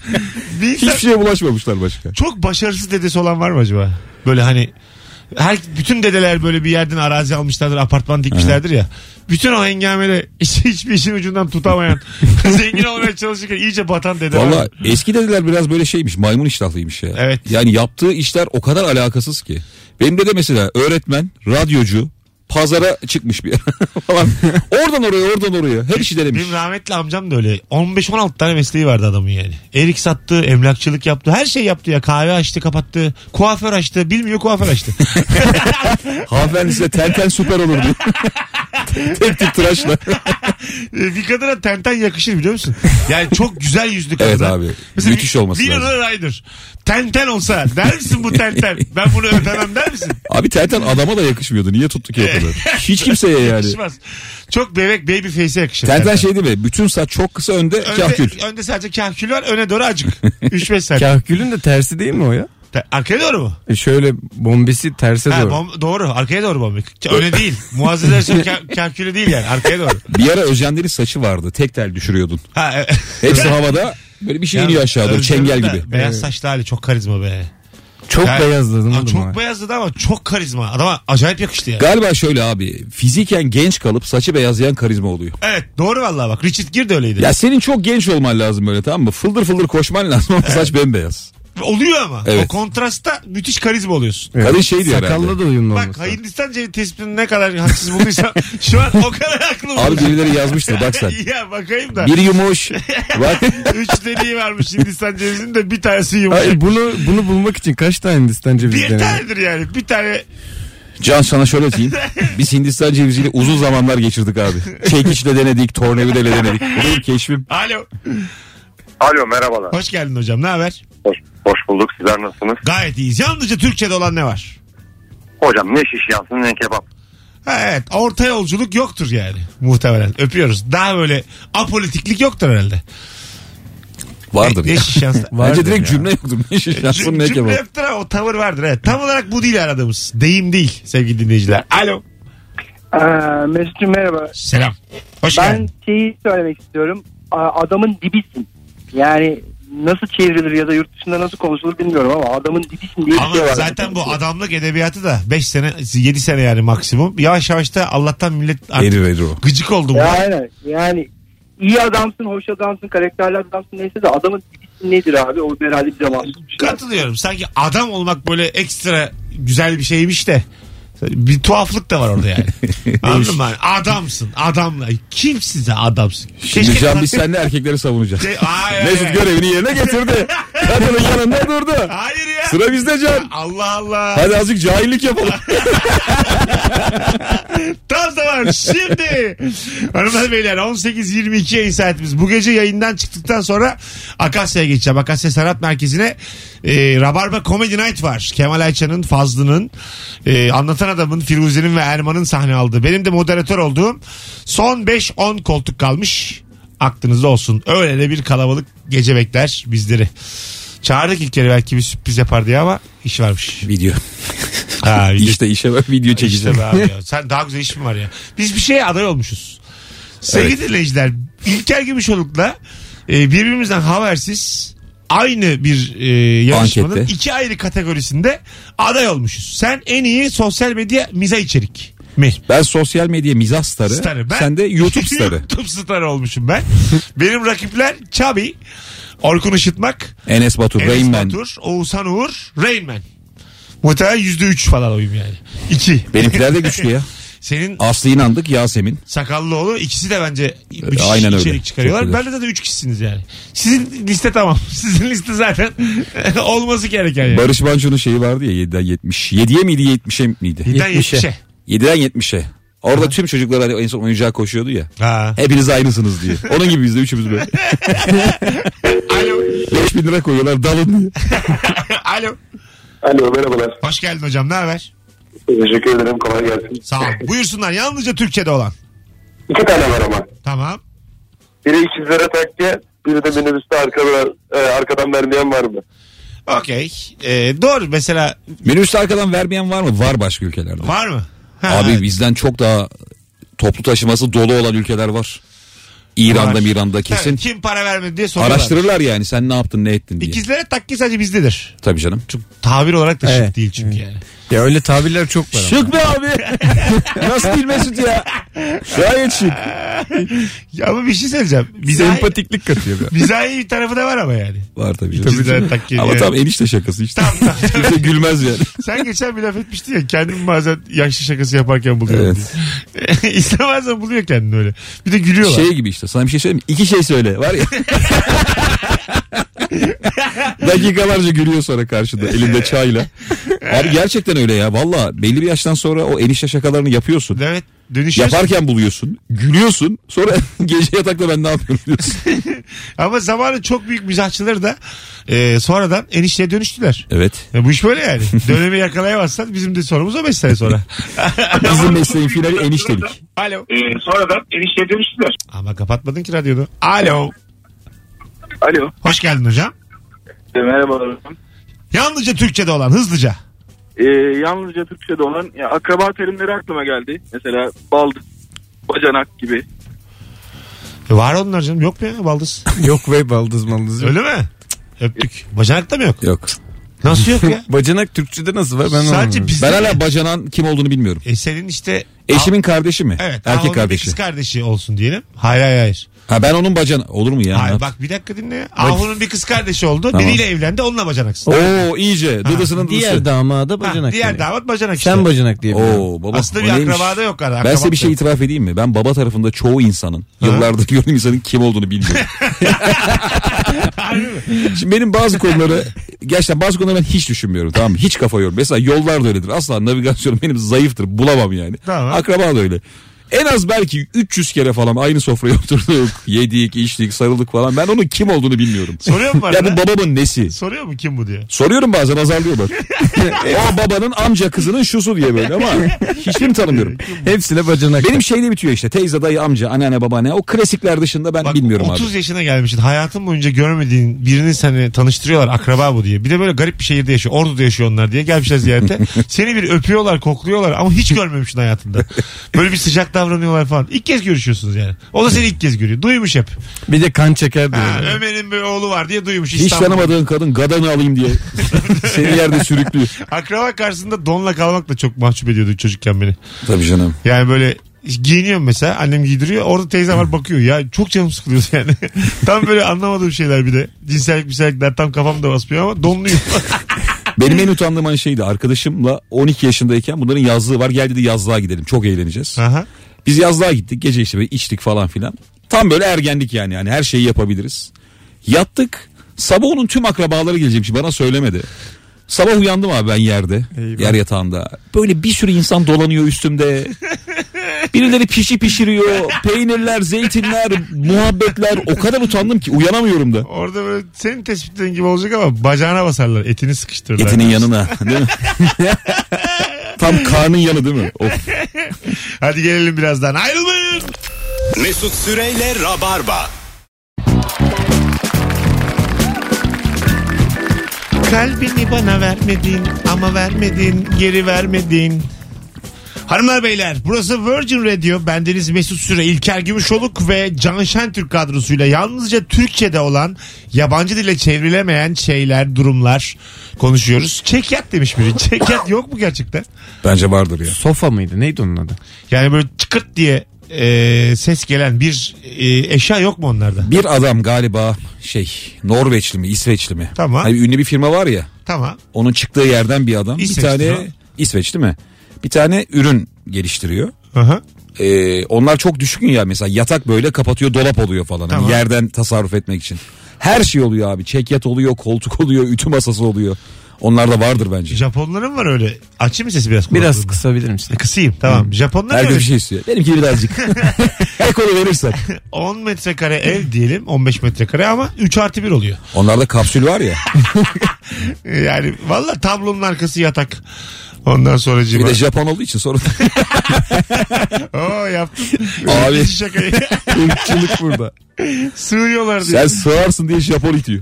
Speaker 2: Bir insan-
Speaker 3: Hiçbir şeye bulaşmamışlar başka.
Speaker 2: çok başarısız dedesi olan var mı acaba? Böyle hani her bütün dedeler böyle bir yerden arazi almışlardır, apartman dikmişlerdir ya. Bütün o hengameli hiç, hiçbir işin ucundan tutamayan, zengin olmaya çalışırken iyice batan dede. var.
Speaker 3: Valla eski dedeler biraz böyle şeymiş maymun iştahlıymış ya.
Speaker 2: Evet.
Speaker 3: Yani yaptığı işler o kadar alakasız ki. Benim dede mesela öğretmen, radyocu, pazara çıkmış bir falan. Oradan oraya oradan oraya her işi şey denemiş.
Speaker 2: Benim rahmetli amcam da öyle. 15-16 tane mesleği vardı adamın yani. Erik sattı, emlakçılık yaptı. Her şey yaptı ya. Kahve açtı, kapattı. Kuaför açtı. Bilmiyor kuaför açtı.
Speaker 3: Hanımefendi size tenten süper olur diyor. Tek tip tıraşla.
Speaker 2: Ee, bir kadına tenten yakışır biliyor musun? Yani çok güzel yüzlü kadına.
Speaker 3: Evet abi. Müthiş olması
Speaker 2: Winona Ryder. Tenten olsa der misin bu tenten? Ben bunu öpemem der misin?
Speaker 3: Abi tenten adama da yakışmıyordu. Niye tuttu ki o kadar? Hiç kimseye yani.
Speaker 2: Yakışmaz. Çok bebek baby face'e yakışır.
Speaker 3: Tenten şey değil mi? Bütün saç çok kısa önde
Speaker 2: Önde,
Speaker 3: kahkül.
Speaker 2: önde sadece kahkül var öne doğru acık. 3-5 santim.
Speaker 4: Kahkülün de tersi değil mi o ya?
Speaker 2: Te- Arkaya doğru mu?
Speaker 4: E şöyle bombesi terse
Speaker 2: Ha,
Speaker 4: doğru.
Speaker 2: bom- doğru. Arkaya doğru bomba. Öne değil. Muazzez Ersoy kah- kahkülü değil yani. Arkaya doğru.
Speaker 3: Bir ara Özcan'ların saçı vardı. Tek tel düşürüyordun.
Speaker 2: Ha, e-
Speaker 3: Hepsi havada. Böyle bir şey iniyor aşağı doğru.
Speaker 2: Özcan'ın
Speaker 3: Çengel
Speaker 2: da
Speaker 3: gibi.
Speaker 2: Beyaz saçlı hali çok karizma be.
Speaker 4: Çok
Speaker 2: Yani-
Speaker 4: beyazladın
Speaker 2: Aa,
Speaker 4: oğlum
Speaker 2: Çok
Speaker 4: ha.
Speaker 2: beyazladı ama çok karizma. Adama acayip yakıştı yani.
Speaker 3: Galiba şöyle abi fiziken genç kalıp saçı beyazlayan karizma oluyor.
Speaker 2: Evet doğru vallahi bak. Richard Gere de öyleydi.
Speaker 3: Ya senin çok genç olman lazım böyle tamam mı? Fıldır fıldır koşman lazım ama saç bembeyaz.
Speaker 2: Oluyor ama.
Speaker 3: Evet.
Speaker 2: O kontrastta müthiş karizma oluyorsun.
Speaker 4: Evet.
Speaker 3: Kadın şey diyor herhalde.
Speaker 4: Sakalla da uyumlu
Speaker 2: Bak
Speaker 4: olması.
Speaker 2: Hindistan cevizi tespitini ne kadar haksız bulduysam şu an o kadar haklı buldum.
Speaker 3: Abi birileri yazmıştır bak sen.
Speaker 2: ya bakayım da.
Speaker 3: Bir yumuş. Bak
Speaker 2: Üç deliği varmış Hindistan cevizinin de bir tanesi yumuşak.
Speaker 4: Hayır bunu bunu bulmak için kaç tane Hindistan cevizi
Speaker 2: Bir
Speaker 4: denedin?
Speaker 2: tanedir yani. Bir tane
Speaker 3: Can sana şöyle diyeyim. Biz Hindistan ceviziyle uzun zamanlar geçirdik abi. Çekiçle denedik, tornavidayla denedik. Bu benim keşfim.
Speaker 2: Alo.
Speaker 7: Alo merhabalar.
Speaker 2: Hoş geldin hocam. Ne haber?
Speaker 7: Hoş, hoş bulduk. Sizler nasılsınız?
Speaker 2: Gayet iyiyiz. Yalnızca Türkçe'de olan ne var?
Speaker 7: Hocam ne şiş yansın ne kebap.
Speaker 2: Ha, evet. Orta yolculuk yoktur yani. Muhtemelen. Öpüyoruz. Daha böyle apolitiklik yoktur herhalde.
Speaker 3: Vardır
Speaker 2: Ne
Speaker 3: ya.
Speaker 2: şiş yansın.
Speaker 3: Bence direkt cümle yoktur. Ne şiş yansın ne
Speaker 2: Cümle
Speaker 3: kebap.
Speaker 2: yoktur ama o tavır vardır. Evet. Tam olarak bu değil aradığımız. Deyim değil sevgili dinleyiciler. Alo.
Speaker 8: Ee, Mesut'cum merhaba.
Speaker 2: Selam. Hoş
Speaker 8: Ben
Speaker 2: geldin.
Speaker 8: şeyi söylemek istiyorum. A- Adamın dibisin. Yani nasıl çevrilir ya da yurt dışında nasıl konuşulur bilmiyorum ama adamın dibisin diye bir şey
Speaker 2: Ama
Speaker 8: var.
Speaker 2: zaten bu adamlık edebiyatı da 5 sene 7 sene yani maksimum. Yavaş yavaş da Allah'tan millet artık
Speaker 3: Erir erir o.
Speaker 2: gıcık oldu. bu.
Speaker 8: Ya Aynen. Yani iyi adamsın, hoş adamsın, karakterli adamsın neyse de adamın dibisin nedir abi? O herhalde bize mahsus bir şey.
Speaker 2: Katılıyorum. Sanki adam olmak böyle ekstra güzel bir şeymiş de. Bir tuhaflık da var orada yani. Anladın mı? Adamsın. Adamla. Kimsin sen adamsın?
Speaker 3: Şimdi Can biz seninle erkekleri savunacağız.
Speaker 2: Şey- Hayır,
Speaker 3: Mesut
Speaker 2: hayır.
Speaker 3: görevini yerine getirdi. Kadının yanında durdu.
Speaker 2: Hayır ya.
Speaker 3: Sıra bizde Can.
Speaker 2: Allah Allah.
Speaker 3: Hadi azıcık cahillik yapalım.
Speaker 2: Tam zaman şimdi. Hanımlar beyler 18.22 yayın saatimiz. Bu gece yayından çıktıktan sonra Akasya'ya geçeceğim. Akasya Sanat Merkezi'ne e, Rabarba Comedy Night var. Kemal Ayça'nın, Fazlı'nın, e, Anlatan Adam'ın, Firuze'nin ve Erman'ın sahne aldığı. Benim de moderatör olduğum son 5-10 koltuk kalmış. Aklınızda olsun. Öyle de bir kalabalık gece bekler bizleri. Çağırdık ilk kere belki bir sürpriz yapar diye ama iş varmış.
Speaker 3: Video.
Speaker 2: Ha, video
Speaker 3: İşte işe bak video
Speaker 2: işte
Speaker 3: çekeceğim.
Speaker 2: be abi ya. Sen daha güzel iş mi var ya? Biz bir şeye aday olmuşuz. Sevgili dinleyiciler İlker Gümüşoluk'la e, birbirimizden habersiz aynı bir e, yarışmanın
Speaker 3: Ankette.
Speaker 2: iki ayrı kategorisinde aday olmuşuz. Sen en iyi sosyal medya miza içerik mi?
Speaker 3: Ben sosyal medya mizah starı.
Speaker 2: Starı. Ben-
Speaker 3: Sen de YouTube starı.
Speaker 2: YouTube starı olmuşum ben. Benim rakipler Çabi, Orkun Işıtmak,
Speaker 3: Enes Batur,
Speaker 2: Enes
Speaker 3: Rain Man.
Speaker 2: Batur, Oğuzhan Uğur, Rain Man. Muhtemelen %3 falan oyum yani. 2.
Speaker 3: Benimkiler de güçlü ya.
Speaker 2: Senin
Speaker 3: Aslı inandık Yasemin.
Speaker 2: Sakallıoğlu ikisi de bence müthiş
Speaker 3: E, aynen öyle.
Speaker 2: içerik çıkarıyorlar.
Speaker 3: Çok güzel.
Speaker 2: Ben de zaten üç kişisiniz yani. Sizin liste tamam. Sizin liste zaten olması gereken yani.
Speaker 3: Barış Manço'nun şeyi vardı ya 7'den 70. 7'ye miydi 70'e miydi?
Speaker 2: Birden yetmişe.
Speaker 3: 7'den 70'e. Orada tüm çocuklar hani en son oyuncağa koşuyordu ya.
Speaker 2: Ha.
Speaker 3: Hepiniz aynısınız diye. Onun gibi biz de üçümüz böyle.
Speaker 2: Alo.
Speaker 3: 5000 lira koyuyorlar dalın diye.
Speaker 2: Alo.
Speaker 7: Alo merhabalar.
Speaker 2: Hoş geldin hocam. Ne haber?
Speaker 7: Teşekkür ederim kolay gelsin.
Speaker 2: Sağ ol. Buyursunlar. Yalnızca Türkçe'de olan.
Speaker 7: İki tane var ama.
Speaker 2: Tamam.
Speaker 7: Biri ikizlere takke biri de minibüste arkadan, e, arkadan vermeyen var mı?
Speaker 2: Okey. Ee, doğru. Mesela
Speaker 3: Minibüste arkadan vermeyen var mı? Var başka ülkelerde.
Speaker 2: var mı? Ha,
Speaker 3: Abi
Speaker 2: evet.
Speaker 3: bizden çok daha toplu taşıması dolu olan ülkeler var. İran'da,
Speaker 2: Var.
Speaker 3: İran'da
Speaker 2: Tabii,
Speaker 3: kesin.
Speaker 2: kim para vermedi diye soruyorlar.
Speaker 3: Araştırırlar yani sen ne yaptın ne ettin diye.
Speaker 2: İkizlere takki sadece bizdedir.
Speaker 3: Tabii canım.
Speaker 2: Çünkü tabir olarak da şık
Speaker 4: Evet.
Speaker 2: değil çünkü yani.
Speaker 4: Ya öyle tabirler çok var. ama.
Speaker 3: Şık be abi. Nasıl değil Mesut ya? Gayet şık.
Speaker 2: Ya ama bir şey söyleyeceğim. Mizahi,
Speaker 4: Sempatiklik katıyor. biraz.
Speaker 2: mizahi bir tarafı da var ama yani.
Speaker 3: Var tabii canım.
Speaker 2: İkizlere takki.
Speaker 3: Ama
Speaker 2: yani.
Speaker 3: tam enişte şakası işte.
Speaker 2: Tamam, tamam, tamam.
Speaker 3: Kimse gülmez yani.
Speaker 2: Sen geçen bir laf etmiştin ya kendimi bazen yaşlı şakası yaparken buluyorum diye. İnsan bazen buluyor kendini öyle. Bir de gülüyorlar.
Speaker 3: Şey gibi işte sana bir şey söyleyeyim mi? İki şey söyle var ya. Dakikalarca gülüyor sonra karşında elinde çayla. Abi gerçekten öyle ya valla belli bir yaştan sonra o enişte şakalarını yapıyorsun.
Speaker 2: Evet dönüşüyorsun.
Speaker 3: Yaparken buluyorsun, gülüyorsun. Sonra gece yatakta ben ne yapıyorum diyorsun.
Speaker 2: Ama zamanın çok büyük mizahçıları da e, sonradan enişteye dönüştüler.
Speaker 3: Evet.
Speaker 2: Ya bu iş böyle yani. Dönemi yakalayamazsan bizim de sorumuz o 5 sene sonra.
Speaker 3: Bizim mesleğin finali eniştelik.
Speaker 2: Alo.
Speaker 5: E, sonradan enişte dönüştüler.
Speaker 2: Ama kapatmadın ki radyonu. Alo.
Speaker 5: Alo.
Speaker 2: Hoş geldin hocam.
Speaker 5: merhabalar.
Speaker 2: Yalnızca Türkçe'de olan hızlıca.
Speaker 5: Ee, yalnızca Türkçe'de olan ya, akraba terimleri aklıma geldi. Mesela baldır, bacanak gibi.
Speaker 2: E, var onlar canım yok mu ya baldız?
Speaker 4: Yok ve baldız maldız. yok.
Speaker 2: Öyle mi? Cık, Öptük. Bacanak da mı yok?
Speaker 3: Yok.
Speaker 2: Nasıl yok ya?
Speaker 4: Bacanak Türkçe'de nasıl var ben
Speaker 2: Sadece
Speaker 4: anlamadım.
Speaker 2: bizde.
Speaker 3: Ben hala bacanan kim olduğunu bilmiyorum.
Speaker 2: E, senin işte
Speaker 3: Eşimin kardeşi mi?
Speaker 2: Evet. Erkek
Speaker 3: Erkek
Speaker 2: kardeşi.
Speaker 3: kardeşi.
Speaker 2: Kız kardeşi olsun diyelim. Hayır hayır hayır.
Speaker 3: Ha ben onun bacan olur mu ya?
Speaker 2: hayır bak bir dakika dinle. Ahu'nun bir kız kardeşi oldu.
Speaker 3: Tamam.
Speaker 2: Biriyle evlendi. Onunla bacanaksın.
Speaker 3: Oo iyice dıdısının
Speaker 4: Diğer
Speaker 3: dıdısı.
Speaker 4: damada
Speaker 2: Ha,
Speaker 4: bacanak.
Speaker 2: diğer
Speaker 4: deniyor.
Speaker 2: damat bacanak işte.
Speaker 4: Sen bacanak diye biliyorum.
Speaker 3: Oo baba.
Speaker 2: Aslında
Speaker 3: o
Speaker 2: bir
Speaker 3: neymiş?
Speaker 2: akrabada yok. Ara,
Speaker 3: Ben
Speaker 2: akrabat
Speaker 3: size bir şey
Speaker 2: yok.
Speaker 3: itiraf edeyim mi? Ben baba tarafında çoğu insanın, yıllardır gördüğüm insanın kim olduğunu bilmiyorum. Şimdi benim bazı konuları, gerçekten bazı konuları ben hiç düşünmüyorum tamam mı? Hiç kafa yormuyorum. Mesela yollar da öyledir. Asla navigasyonum benim zayıftır. Bulamam yani.
Speaker 2: Tamam.
Speaker 3: Akraba da öyle. En az belki 300 kere falan aynı sofraya oturduk. Yedik, içtik, sarıldık falan. Ben onun kim olduğunu bilmiyorum.
Speaker 2: Soruyor mu
Speaker 3: ya bu
Speaker 2: bana?
Speaker 3: babamın nesi?
Speaker 2: Soruyor mu kim bu diye.
Speaker 3: Soruyorum bazen azarlıyorlar. o babanın amca kızının şusu diye böyle ama hiçbirini tanımıyorum.
Speaker 4: Hepsine bacanak.
Speaker 3: Benim şeyle bitiyor işte teyze dayı amca anneanne babaanne o klasikler dışında ben
Speaker 2: Bak,
Speaker 3: bilmiyorum
Speaker 2: 30
Speaker 3: abi.
Speaker 2: yaşına gelmişsin. Hayatın boyunca görmediğin birini seni tanıştırıyorlar akraba bu diye. Bir de böyle garip bir şehirde yaşıyor. Ordu'da yaşıyor onlar diye. Gelmişler ziyarete. Seni bir öpüyorlar, kokluyorlar ama hiç görmemişsin hayatında. Böyle bir sıcak davranıyorlar falan. İlk kez görüşüyorsunuz yani. O da seni ilk kez görüyor. Duymuş hep.
Speaker 4: Bir de kan çeker diyor.
Speaker 2: Ha, Ömer'in bir oğlu var diye duymuş.
Speaker 3: Hiç
Speaker 2: İstanbul'da.
Speaker 3: tanımadığın kadın gadanı alayım diye seni yerde sürüklüyor.
Speaker 2: Akraba karşısında donla kalmak da çok mahcup ediyordu çocukken beni.
Speaker 3: Tabii canım.
Speaker 2: Yani böyle giyiniyorum mesela. Annem giydiriyor. Orada teyzem var bakıyor. Ya çok canım sıkılıyor yani. tam böyle anlamadığım şeyler bir de. Cinsellik misellikler tam kafamda basmıyor ama donluyum.
Speaker 3: Benim en utandığım an şeydi arkadaşımla 12 yaşındayken bunların yazlığı var gel dedi yazlığa gidelim çok eğleneceğiz.
Speaker 2: Aha.
Speaker 3: Biz yazlığa gittik gece işte böyle içtik falan filan. Tam böyle ergenlik yani yani her şeyi yapabiliriz. Yattık sabah onun tüm akrabaları gelecekmiş bana söylemedi. Sabah uyandım abi ben yerde yer yatağında. Böyle bir sürü insan dolanıyor üstümde. Birileri pişi pişiriyor. Peynirler, zeytinler, muhabbetler. O kadar utandım ki uyanamıyorum da.
Speaker 2: Orada böyle senin tespitlerin gibi olacak ama bacağına basarlar. Etini sıkıştırırlar.
Speaker 3: Etinin yanına değil mi? Tam karnın yanı değil mi? Of.
Speaker 2: Hadi gelelim birazdan. Ayrılmayın.
Speaker 1: Mesut Süreyle Rabarba.
Speaker 2: Kalbini bana vermedin ama vermedin geri vermedin. Hanımlar beyler burası Virgin Radio. Bendeniz Mesut Süre, İlker Gümüşoluk ve Can Şentürk kadrosuyla yalnızca Türkçe'de olan yabancı dile çevrilemeyen şeyler, durumlar konuşuyoruz. Çekyat demiş biri. Çekyat yok mu gerçekten?
Speaker 3: Bence vardır ya.
Speaker 4: Sofa mıydı? Neydi onun adı?
Speaker 2: Yani böyle çıkırt diye e, ses gelen bir e, eşya yok mu onlarda?
Speaker 3: Bir adam galiba şey Norveçli mi İsveçli mi?
Speaker 2: Tamam.
Speaker 3: Hani ünlü bir firma var ya
Speaker 2: Tamam.
Speaker 3: onun çıktığı yerden bir adam
Speaker 2: İsveçli
Speaker 3: bir tane
Speaker 2: ha.
Speaker 3: İsveç değil mi? Bir tane ürün geliştiriyor.
Speaker 2: Aha.
Speaker 3: Ee, onlar çok düşkün ya mesela yatak böyle kapatıyor dolap oluyor falan. Hani
Speaker 2: Tamam.
Speaker 3: yerden tasarruf etmek için. Her şey oluyor abi. Çekyat oluyor, koltuk oluyor, ütü masası oluyor. Onlar da vardır bence.
Speaker 2: Japonların var öyle. Açayım mı sesi biraz?
Speaker 4: Biraz
Speaker 2: kulaklarını?
Speaker 4: kısabilir misin?
Speaker 2: Kısayım tamam. Japonlar
Speaker 3: Herkes
Speaker 2: öyle.
Speaker 3: bir şey istiyor. Benimki birazcık. Ek onu verirsen.
Speaker 2: 10 metrekare ev diyelim 15 metrekare ama 3 artı 1 oluyor.
Speaker 3: Onlarda kapsül var ya.
Speaker 2: Yani valla tablonun arkası yatak. Ondan sonra
Speaker 3: Bir
Speaker 2: cima.
Speaker 3: de Japon olduğu için sorun.
Speaker 2: Oo yaptım.
Speaker 3: Abi.
Speaker 2: İkinci şakayı.
Speaker 3: Irkçılık burada.
Speaker 2: Sığıyorlar diye.
Speaker 3: Sen sığarsın diye Japon itiyor.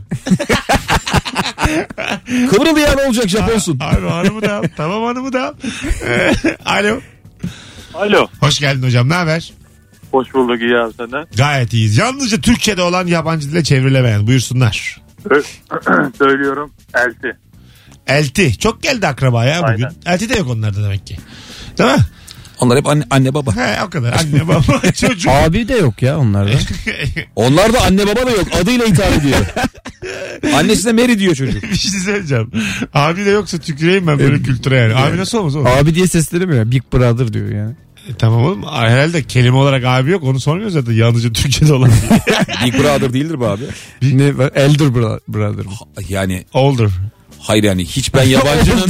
Speaker 3: Kıvrıl ya ne olacak Japonsun.
Speaker 2: Abi hanımı da al. Tamam hanımı da al. Alo.
Speaker 7: Alo.
Speaker 2: Hoş geldin hocam. Ne haber?
Speaker 7: Hoş bulduk iyi abi senden.
Speaker 2: Gayet iyiyiz. Yalnızca Türkçe'de olan yabancı dile çevrilemeyen. Buyursunlar.
Speaker 7: Söylüyorum. Elti.
Speaker 2: Elti. Çok geldi akraba ya bugün.
Speaker 7: Aynen.
Speaker 2: Elti de yok onlarda demek ki. Değil mi?
Speaker 3: Onlar hep anne, anne baba.
Speaker 2: He, o kadar. Anne baba çocuk.
Speaker 4: Abi de yok ya onlarda.
Speaker 3: Onlar da anne baba da yok. Adıyla hitap ediyor. Annesine Mary diyor çocuk.
Speaker 2: bir şey söyleyeceğim. Abi de yoksa tüküreyim ben
Speaker 6: E,
Speaker 2: böyle kültüre yani. Abi nasıl olmaz oğlum?
Speaker 4: Abi diye seslenemiyor. Big Brother diyor yani.
Speaker 2: E, tamam oğlum. Herhalde kelime olarak abi yok. Onu sormuyor zaten. Yalnızca Türkçe'de olan.
Speaker 3: Big brother değildir be abi.
Speaker 4: Ne var? Elder Bro- Brother.
Speaker 3: Yani
Speaker 2: Older.
Speaker 3: hayır yani hiç ben yabancının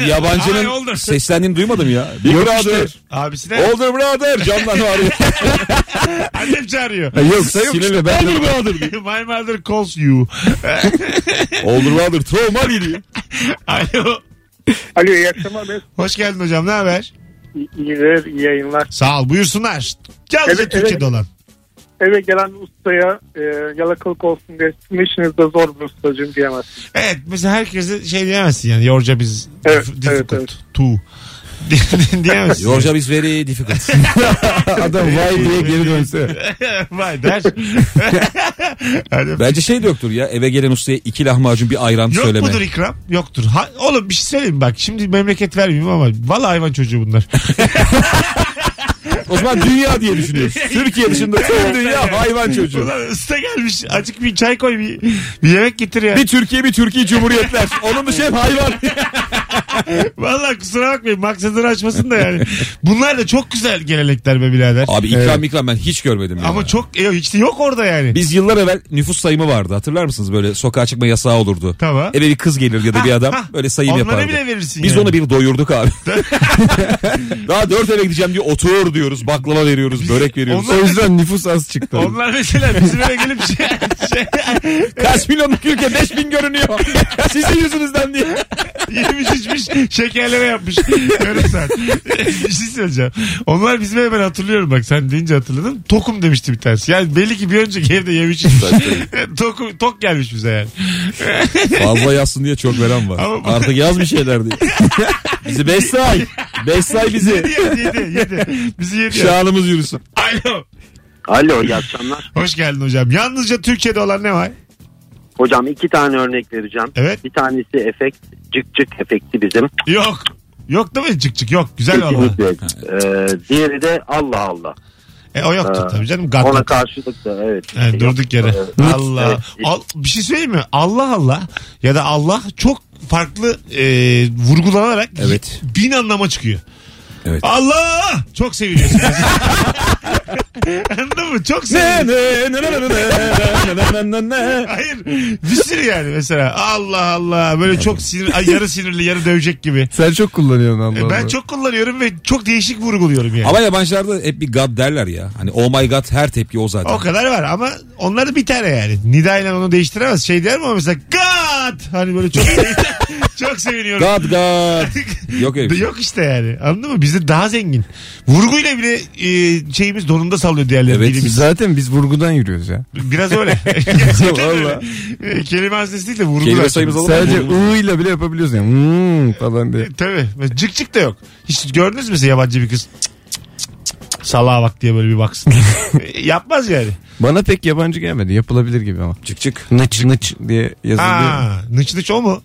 Speaker 2: Ay,
Speaker 3: yabancının
Speaker 2: older.
Speaker 3: seslendiğini duymadım ya. Big brother.
Speaker 2: Abisine
Speaker 3: Older brother. Camdan var ya.
Speaker 6: Oh.
Speaker 2: annem çağırıyor.
Speaker 3: Yoksa yok. Sinirli ben. Older brother.
Speaker 2: My mother calls you.
Speaker 3: Older brother. Trauma geliyor.
Speaker 2: Alo.
Speaker 6: Alo iyi akşamlar Mesut.
Speaker 2: Hoş geldin hocam. Ne haber?
Speaker 6: İyiler, iyi yayınlar.
Speaker 2: Sağ ol. Buyursunlar. Yalnızca
Speaker 6: Evet,
Speaker 2: Türkçe'de
Speaker 6: evet.
Speaker 2: olan.
Speaker 6: Eve gelen ustaya e, yalakalık olsun diye sizin işiniz de zor bir ustacığım diyemez.
Speaker 2: Evet. Mesela herkese şey diyemezsin yani. Yorca biz
Speaker 6: Evet,
Speaker 2: dif-
Speaker 6: evet,
Speaker 2: difficult.
Speaker 6: evet.
Speaker 2: Too. diyemezsin.
Speaker 3: Yorca biz very difficult.
Speaker 4: Adam vay diye geri dönse.
Speaker 2: Vay der. Hadi.
Speaker 3: Bence şey de yoktur ya. Eve gelen ustaya iki lahmacun bir ayran
Speaker 2: Yok
Speaker 3: söyleme.
Speaker 2: mudur ikram? Yoktur. Ha, oğlum bir şey söyleyeyim mi? bak. Şimdi memleket vermeyeyim ama valla hayvan çocuğu bunlar.
Speaker 3: O zaman dünya diye düşünüyoruz. Türkiye dışında tüm dünya hayvan çocuğu.
Speaker 2: Ulan usta gelmiş. Acık bir çay koy bir, bir yemek getir ya.
Speaker 3: Bir Türkiye bir Türkiye Cumhuriyetler. Onun dışı hep hayvan.
Speaker 2: Valla kusura bakmayın. Maksadını açmasın da yani. Bunlar da çok güzel gelenekler be birader.
Speaker 3: Abi ikram ikram ben hiç görmedim ya.
Speaker 2: Ama çok e, hiç de yok orada yani.
Speaker 3: Biz yıllar evvel nüfus sayımı vardı hatırlar mısınız? Böyle sokağa çıkma yasağı olurdu.
Speaker 2: Tamam.
Speaker 3: Eve bir kız gelir ya da bir
Speaker 2: Ha,
Speaker 3: adam
Speaker 2: ha.
Speaker 3: böyle sayım
Speaker 2: Onlara
Speaker 3: yapardı.
Speaker 2: bile verirsin
Speaker 3: Biz
Speaker 2: yani.
Speaker 3: onu bir doyurduk abi. Daha dört eve gideceğim diye otur diyoruz. Baklava veriyoruz, börek veriyoruz.
Speaker 4: O yüzden nüfus az çıktı.
Speaker 2: Onlar mesela bizim eve gelip şey, şey
Speaker 3: Kaç milyonluk ülke beş bin görünüyor. Sizin yüzünüzden diye.
Speaker 2: yemiş içmiş şekerleme yapmış. Yarım saat. bir şey söyleyeceğim. Onlar bizim eve ben hatırlıyorum bak sen deyince hatırladım. Tokum demişti bir tanesi. Yani belli ki bir önceki evde yemiş içmiş. Tokum, tok gelmiş bize yani.
Speaker 3: Fazla yazsın diye çok veren var.
Speaker 2: Ama bu-
Speaker 3: Artık yaz bir şeyler diye. bizi beş say. Beş say bizi.
Speaker 2: Yedi yedi yedi. Bizi yedi.
Speaker 3: Şanımız yürüsün.
Speaker 2: Alo.
Speaker 9: Alo iyi akşamlar.
Speaker 2: Hoş geldin hocam. Yalnızca Türkiye'de olan ne var?
Speaker 9: Hocam iki tane örnek vereceğim.
Speaker 2: Evet.
Speaker 9: Bir tanesi efekt cık cık efekti bizim.
Speaker 2: Yok. Yok değil mi cık cık yok. Güzel valla.
Speaker 9: Kesinlikle. Ee, diğeri de Allah Allah.
Speaker 2: E, o yoktu
Speaker 9: Ha.
Speaker 2: tabii canım.
Speaker 9: Ee, Ona
Speaker 2: Gatlat.
Speaker 9: karşılık da evet. Şey
Speaker 2: Yani durduk yere. Allah.
Speaker 9: Evet.
Speaker 2: Al- bir şey söyleyeyim mi? Allah Allah ya da Allah çok farklı e, vurgulanarak
Speaker 4: Evet.
Speaker 2: bin anlama çıkıyor.
Speaker 4: Evet.
Speaker 2: Allah! Çok seviliyorsun. Anladın mı? Çok seviliyorsun. Hayır. Bir sürü yani mesela. Allah Allah. Böyle çok sinir, ay, yarı sinirli yarı dövecek gibi.
Speaker 4: Sen çok kullanıyorsun Allah
Speaker 2: E,
Speaker 4: Allah.
Speaker 2: Ben çok kullanıyorum ve çok değişik vurguluyorum yani.
Speaker 3: Ama yabancılarda hep bir God derler ya. Hani oh my God her tepki o zaten.
Speaker 2: O kadar var ama onlar da bir tane yani. Nida ile onu değiştiremez. Şey der mi o mesela God! Hani böyle çok çok seviniyorum.
Speaker 3: God God. Yok öyle bir şey.
Speaker 2: Yok işte yani anladın mı? Bizde daha zengin. Vurguyla bile e, şeyimiz donunda sallıyor diğerleri.
Speaker 3: Evet,
Speaker 2: dilimiz.
Speaker 4: Zaten biz vurgudan yürüyoruz ya.
Speaker 2: Biraz öyle. Gerçekten öyle.
Speaker 4: Valla.
Speaker 2: E, Kelime haznesi değil de vurgu.
Speaker 3: Kelime
Speaker 2: var.
Speaker 3: sayımız alalım.
Speaker 4: Sadece
Speaker 3: Sadece
Speaker 4: ı ile bile yapabiliyorsun yani. Hmm falan diye.
Speaker 2: Tabii. Mesela Cık cık da yok. Hiç gördünüz mü mesela yabancı bir kız? Cık cık cık cık cık. Salağa bak diye böyle bir baksın. E, Yapmaz yani.
Speaker 4: Bana pek yabancı gelmedi. Yapılabilir gibi ama.
Speaker 3: çık çık.
Speaker 4: Nıç nıç diye yazılıyor.
Speaker 2: Aa, nıç nıç o mu?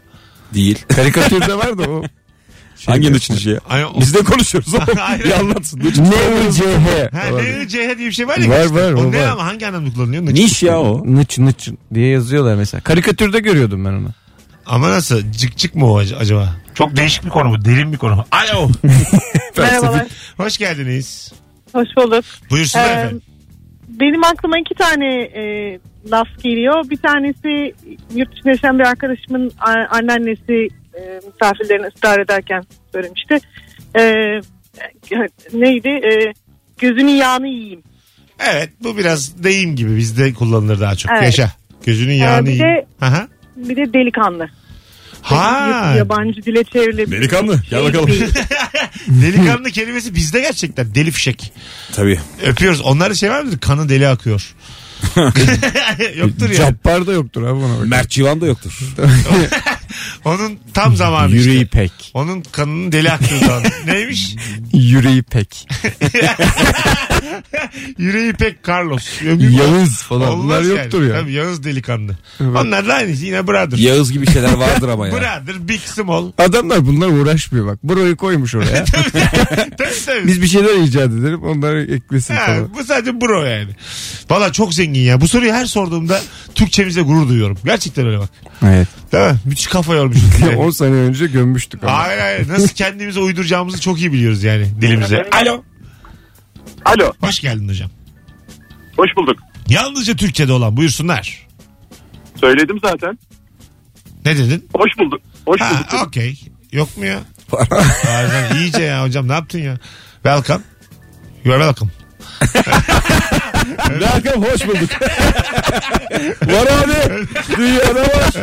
Speaker 3: Değil.
Speaker 4: Karikatürde var da o. Şey
Speaker 3: Hangi nıç nıçı ya?
Speaker 2: Ay, o-
Speaker 3: Biz de konuşuyoruz ama.
Speaker 2: Aynen.
Speaker 3: bir anlatsın. Nıç.
Speaker 4: Ne CH.
Speaker 2: Ha, ne CH diye bir şey var ya.
Speaker 4: Var,
Speaker 2: işte.
Speaker 4: var,
Speaker 2: O
Speaker 4: o
Speaker 2: ne
Speaker 4: var.
Speaker 2: ama hangi anlamda kullanılıyor? Nıç.
Speaker 3: Niş ya o.
Speaker 4: Nıç nıç diye yazıyorlar mesela. Karikatürde görüyordum ben onu.
Speaker 2: Ama nasıl? Cık cık mı o ac- acaba? Çok değişik bir konu bu. Derin bir konu. Alo.
Speaker 10: Merhabalar.
Speaker 2: Hoş geldiniz.
Speaker 10: Hoş bulduk.
Speaker 2: Buyursunlar
Speaker 10: Ee,
Speaker 2: efendim.
Speaker 10: Benim aklıma iki tane e, laf geliyor. Bir tanesi yurt dışında yaşayan bir arkadaşımın a- anneannesi e, misafirlerini ısrar ederken söylemişti. E, gö- neydi? E, gözünün yağını yiyeyim.
Speaker 2: Evet bu biraz deyim gibi bizde kullanılır daha çok.
Speaker 10: Evet.
Speaker 2: Yaşa. Gözünün
Speaker 10: Ee,
Speaker 2: yağını
Speaker 10: bir
Speaker 2: yiyin.
Speaker 10: de- şey,
Speaker 2: Aha.
Speaker 10: Bir de delikanlı.
Speaker 2: Ha.
Speaker 10: Yabancı dile çevrilebilir.
Speaker 3: Delikanlı, gel
Speaker 10: Şey
Speaker 3: bakalım.
Speaker 10: değil.
Speaker 2: Delikanlı kelimesi bizde gerçekten deli fişek.
Speaker 3: Tabii.
Speaker 2: Öpüyoruz. Onlarda şey var mıdır? Kanı deli akıyor. Yoktur ya.
Speaker 4: Cappar da yoktur abi ona bak.
Speaker 3: Mert Civan da yoktur.
Speaker 2: Onun tam zamanı
Speaker 4: Yüreği
Speaker 2: işte.
Speaker 4: pek.
Speaker 2: Onun kanının deli aktığı zaman. Neymiş?
Speaker 4: Yüreği pek.
Speaker 2: Yüreği pek Carlos. Ömür-
Speaker 4: Yağız falan.
Speaker 2: Olmaz
Speaker 4: Bunlar
Speaker 2: yani.
Speaker 4: yoktur ya.
Speaker 2: Tabii Yağız delikanlı. Onlar da aynı yine brother.
Speaker 3: Yağız gibi şeyler vardır ama ya.
Speaker 2: brother, big small.
Speaker 4: Adamlar bunlar uğraşmıyor bak. Burayı koymuş oraya.
Speaker 2: Tabii tabii.
Speaker 4: Biz bir şeyler icat edelim onları eklesin
Speaker 2: Ha,
Speaker 4: falan.
Speaker 2: bu sadece bro yani. Valla çok zengin ya. Bu soruyu her sorduğumda Türkçemize gurur duyuyorum. Gerçekten öyle bak.
Speaker 4: Evet.
Speaker 2: Değil mi? Müthiş kafa yormuşuz.
Speaker 4: Ya 10 sene önce gömmüştük ama.
Speaker 2: hayır hayır. Nasıl kendimize uyduracağımızı çok iyi biliyoruz yani dilimize. Alo.
Speaker 9: Alo
Speaker 2: Hoş geldin hocam.
Speaker 9: hoş bulduk.
Speaker 2: Yalnızca Türkçe'de olan buyursunlar.
Speaker 9: Söyledim zaten.
Speaker 2: Ne dedin?
Speaker 9: Hoş bulduk. Hoş
Speaker 2: Ha okey. Yok mu ya? Harbiden iyice ya hocam ne yaptın ya? Welcome. You are welcome.
Speaker 4: Welcome hoş bulduk. var abi. Dünyada var.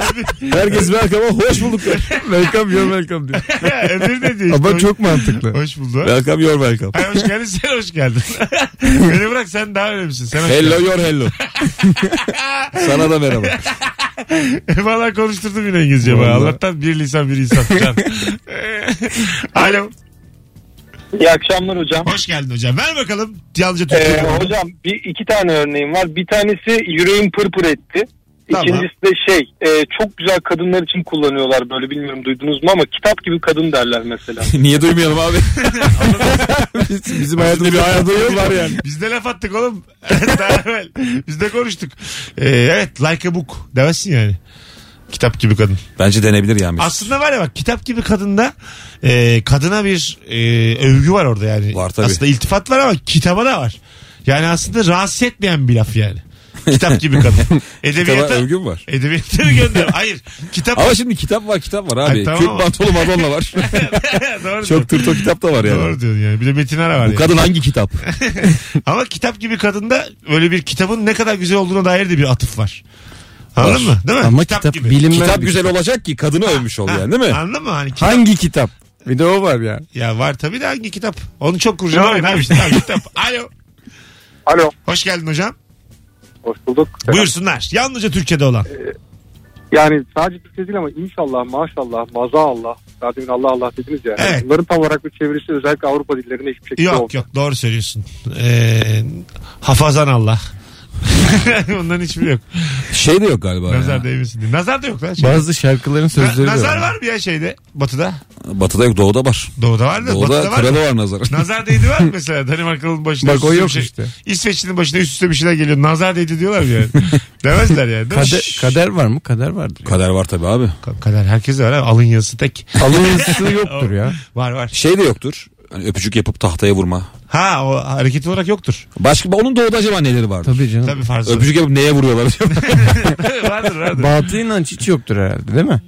Speaker 4: Herkes welcome'a hoş bulduk. welcome your welcome diyor.
Speaker 2: Öbürü ne diyor? işte?
Speaker 4: Ama
Speaker 2: Hoş-
Speaker 4: çok mantıklı.
Speaker 2: Hoş bulduk.
Speaker 3: Welcome your welcome.
Speaker 2: Hayır hoş geldin sen hoş geldin. Beni bırak sen daha önemlisin. Sen hoş
Speaker 3: Hello your hello. Sana da merhaba.
Speaker 2: geldin. Valla konuşturdum yine İngilizce bana.
Speaker 4: Vallahi.
Speaker 2: Allah'tan bir lisan bir insan. Can. Alo.
Speaker 9: İyi akşamlar hocam.
Speaker 2: Hoş geldin hocam. Ver bakalım. Yalnızca Türkçe.
Speaker 9: Ee, hocam bir iki tane örneğim var. Bir tanesi yüreğim pırpır etti.
Speaker 2: Tamam.
Speaker 9: İkincisi de şey e, çok güzel kadınlar için kullanıyorlar böyle bilmiyorum duydunuz mu ama kitap gibi kadın derler mesela.
Speaker 3: Niye duymayalım abi?
Speaker 4: Biz- Bizim hayatımızda bir var yani.
Speaker 2: Biz de laf attık oğlum. Daha evvel. Biz de konuştuk. Ee, evet like a book demezsin yani. Kitap gibi kadın.
Speaker 3: Bence denebilir yani.
Speaker 2: Aslında var ya bak kitap gibi kadında e, kadına bir e, övgü var orada yani.
Speaker 3: Var tabii.
Speaker 2: Aslında iltifat var ama kitaba da var. Yani aslında rahatsız etmeyen bir laf yani. Kitap gibi kadın.
Speaker 3: Kitaba
Speaker 2: Edebiyata,
Speaker 3: övgü mü var?
Speaker 2: edebiyata mı gönder? Hayır. Kitap.
Speaker 3: Ama şimdi kitap var kitap var abi.
Speaker 2: Ay, tamam ama-
Speaker 3: Kürt pantolu Madonna var.
Speaker 2: doğru
Speaker 3: Çok tırto kitap da var yani.
Speaker 2: diyorsun. Doğru diyorsun yani. Bir de Metin Ara var
Speaker 3: Bu
Speaker 2: yani.
Speaker 3: kadın hangi kitap?
Speaker 2: Ama kitap gibi kadında öyle bir kitabın ne kadar güzel olduğuna dair de bir atıf var. Anladın mı? Değil mi?
Speaker 4: Ama kitap, bilinmez.
Speaker 3: kitap
Speaker 4: bir-
Speaker 3: güzel olacak ki kadını övmüş ol
Speaker 2: Ha,
Speaker 3: yani değil mi?
Speaker 2: Anladın mı? Hani kitap,
Speaker 4: Hangi kitap? Bir de o var ya.
Speaker 2: ya var tabii de hangi kitap? Onu çok kurcalamayın abi işte. Tamam, kitap. Alo.
Speaker 7: Alo.
Speaker 2: Hoş geldin hocam.
Speaker 7: Hoş bulduk.
Speaker 2: Buyursunlar. Yalnızca Türkiye'de olan.
Speaker 6: Yani sadece Türkçe değil ama inşallah, maşallah, maza Allah. Daha demin Allah Allah dediniz ya.
Speaker 2: Evet.
Speaker 6: Bunların tam olarak bir çevirisi
Speaker 7: Ee,
Speaker 6: özellikle Avrupa dillerinde hiçbir şekilde
Speaker 2: Yok yok doğru söylüyorsun. Ee, hafazan Allah. Ondan hiçbiri yok.
Speaker 4: Şey de yok galiba.
Speaker 2: Nazar
Speaker 4: ya.
Speaker 2: değmesin diye. Nazar da yok lan. Şeyde.
Speaker 4: Bazı şarkıların sözleri
Speaker 2: Na-
Speaker 4: de
Speaker 2: nazar
Speaker 4: var.
Speaker 2: var mı ya şeyde? Batı'da.
Speaker 4: Batı'da yok doğuda var.
Speaker 2: Doğuda var da.
Speaker 4: Doğuda
Speaker 2: batı'da var.
Speaker 4: kralı
Speaker 2: mı?
Speaker 4: var nazar.
Speaker 2: Nazar değdi var mı mesela? Danimarkalı'nın başına.
Speaker 4: Bak
Speaker 2: üst
Speaker 4: o
Speaker 2: üste
Speaker 4: yok
Speaker 2: bir şey-
Speaker 4: işte.
Speaker 2: İsveç'in başına üst üste bir şeyler geliyor. Nazar değdi diyorlar mı yani? Demezler yani. değil mi?
Speaker 4: Kader, kader var mı? Kader vardır. ya.
Speaker 3: Kader var tabii abi.
Speaker 2: Ka- Kader herkes de var abi. Alın yazısı tek.
Speaker 4: Alın yazısı yoktur ya.
Speaker 2: Var var.
Speaker 3: Şey de yoktur. Hani öpücük yapıp tahtaya vurma.
Speaker 2: Ha o hareket olarak yoktur.
Speaker 3: Başka onun doğuda acaba neleri vardı?
Speaker 4: Tabii canım.
Speaker 2: Tabii farz.
Speaker 3: Öpücük yapıp neye vuruyorlar acaba?
Speaker 2: vardır vardır.
Speaker 4: Batı inanç hiç yoktur herhalde değil mi?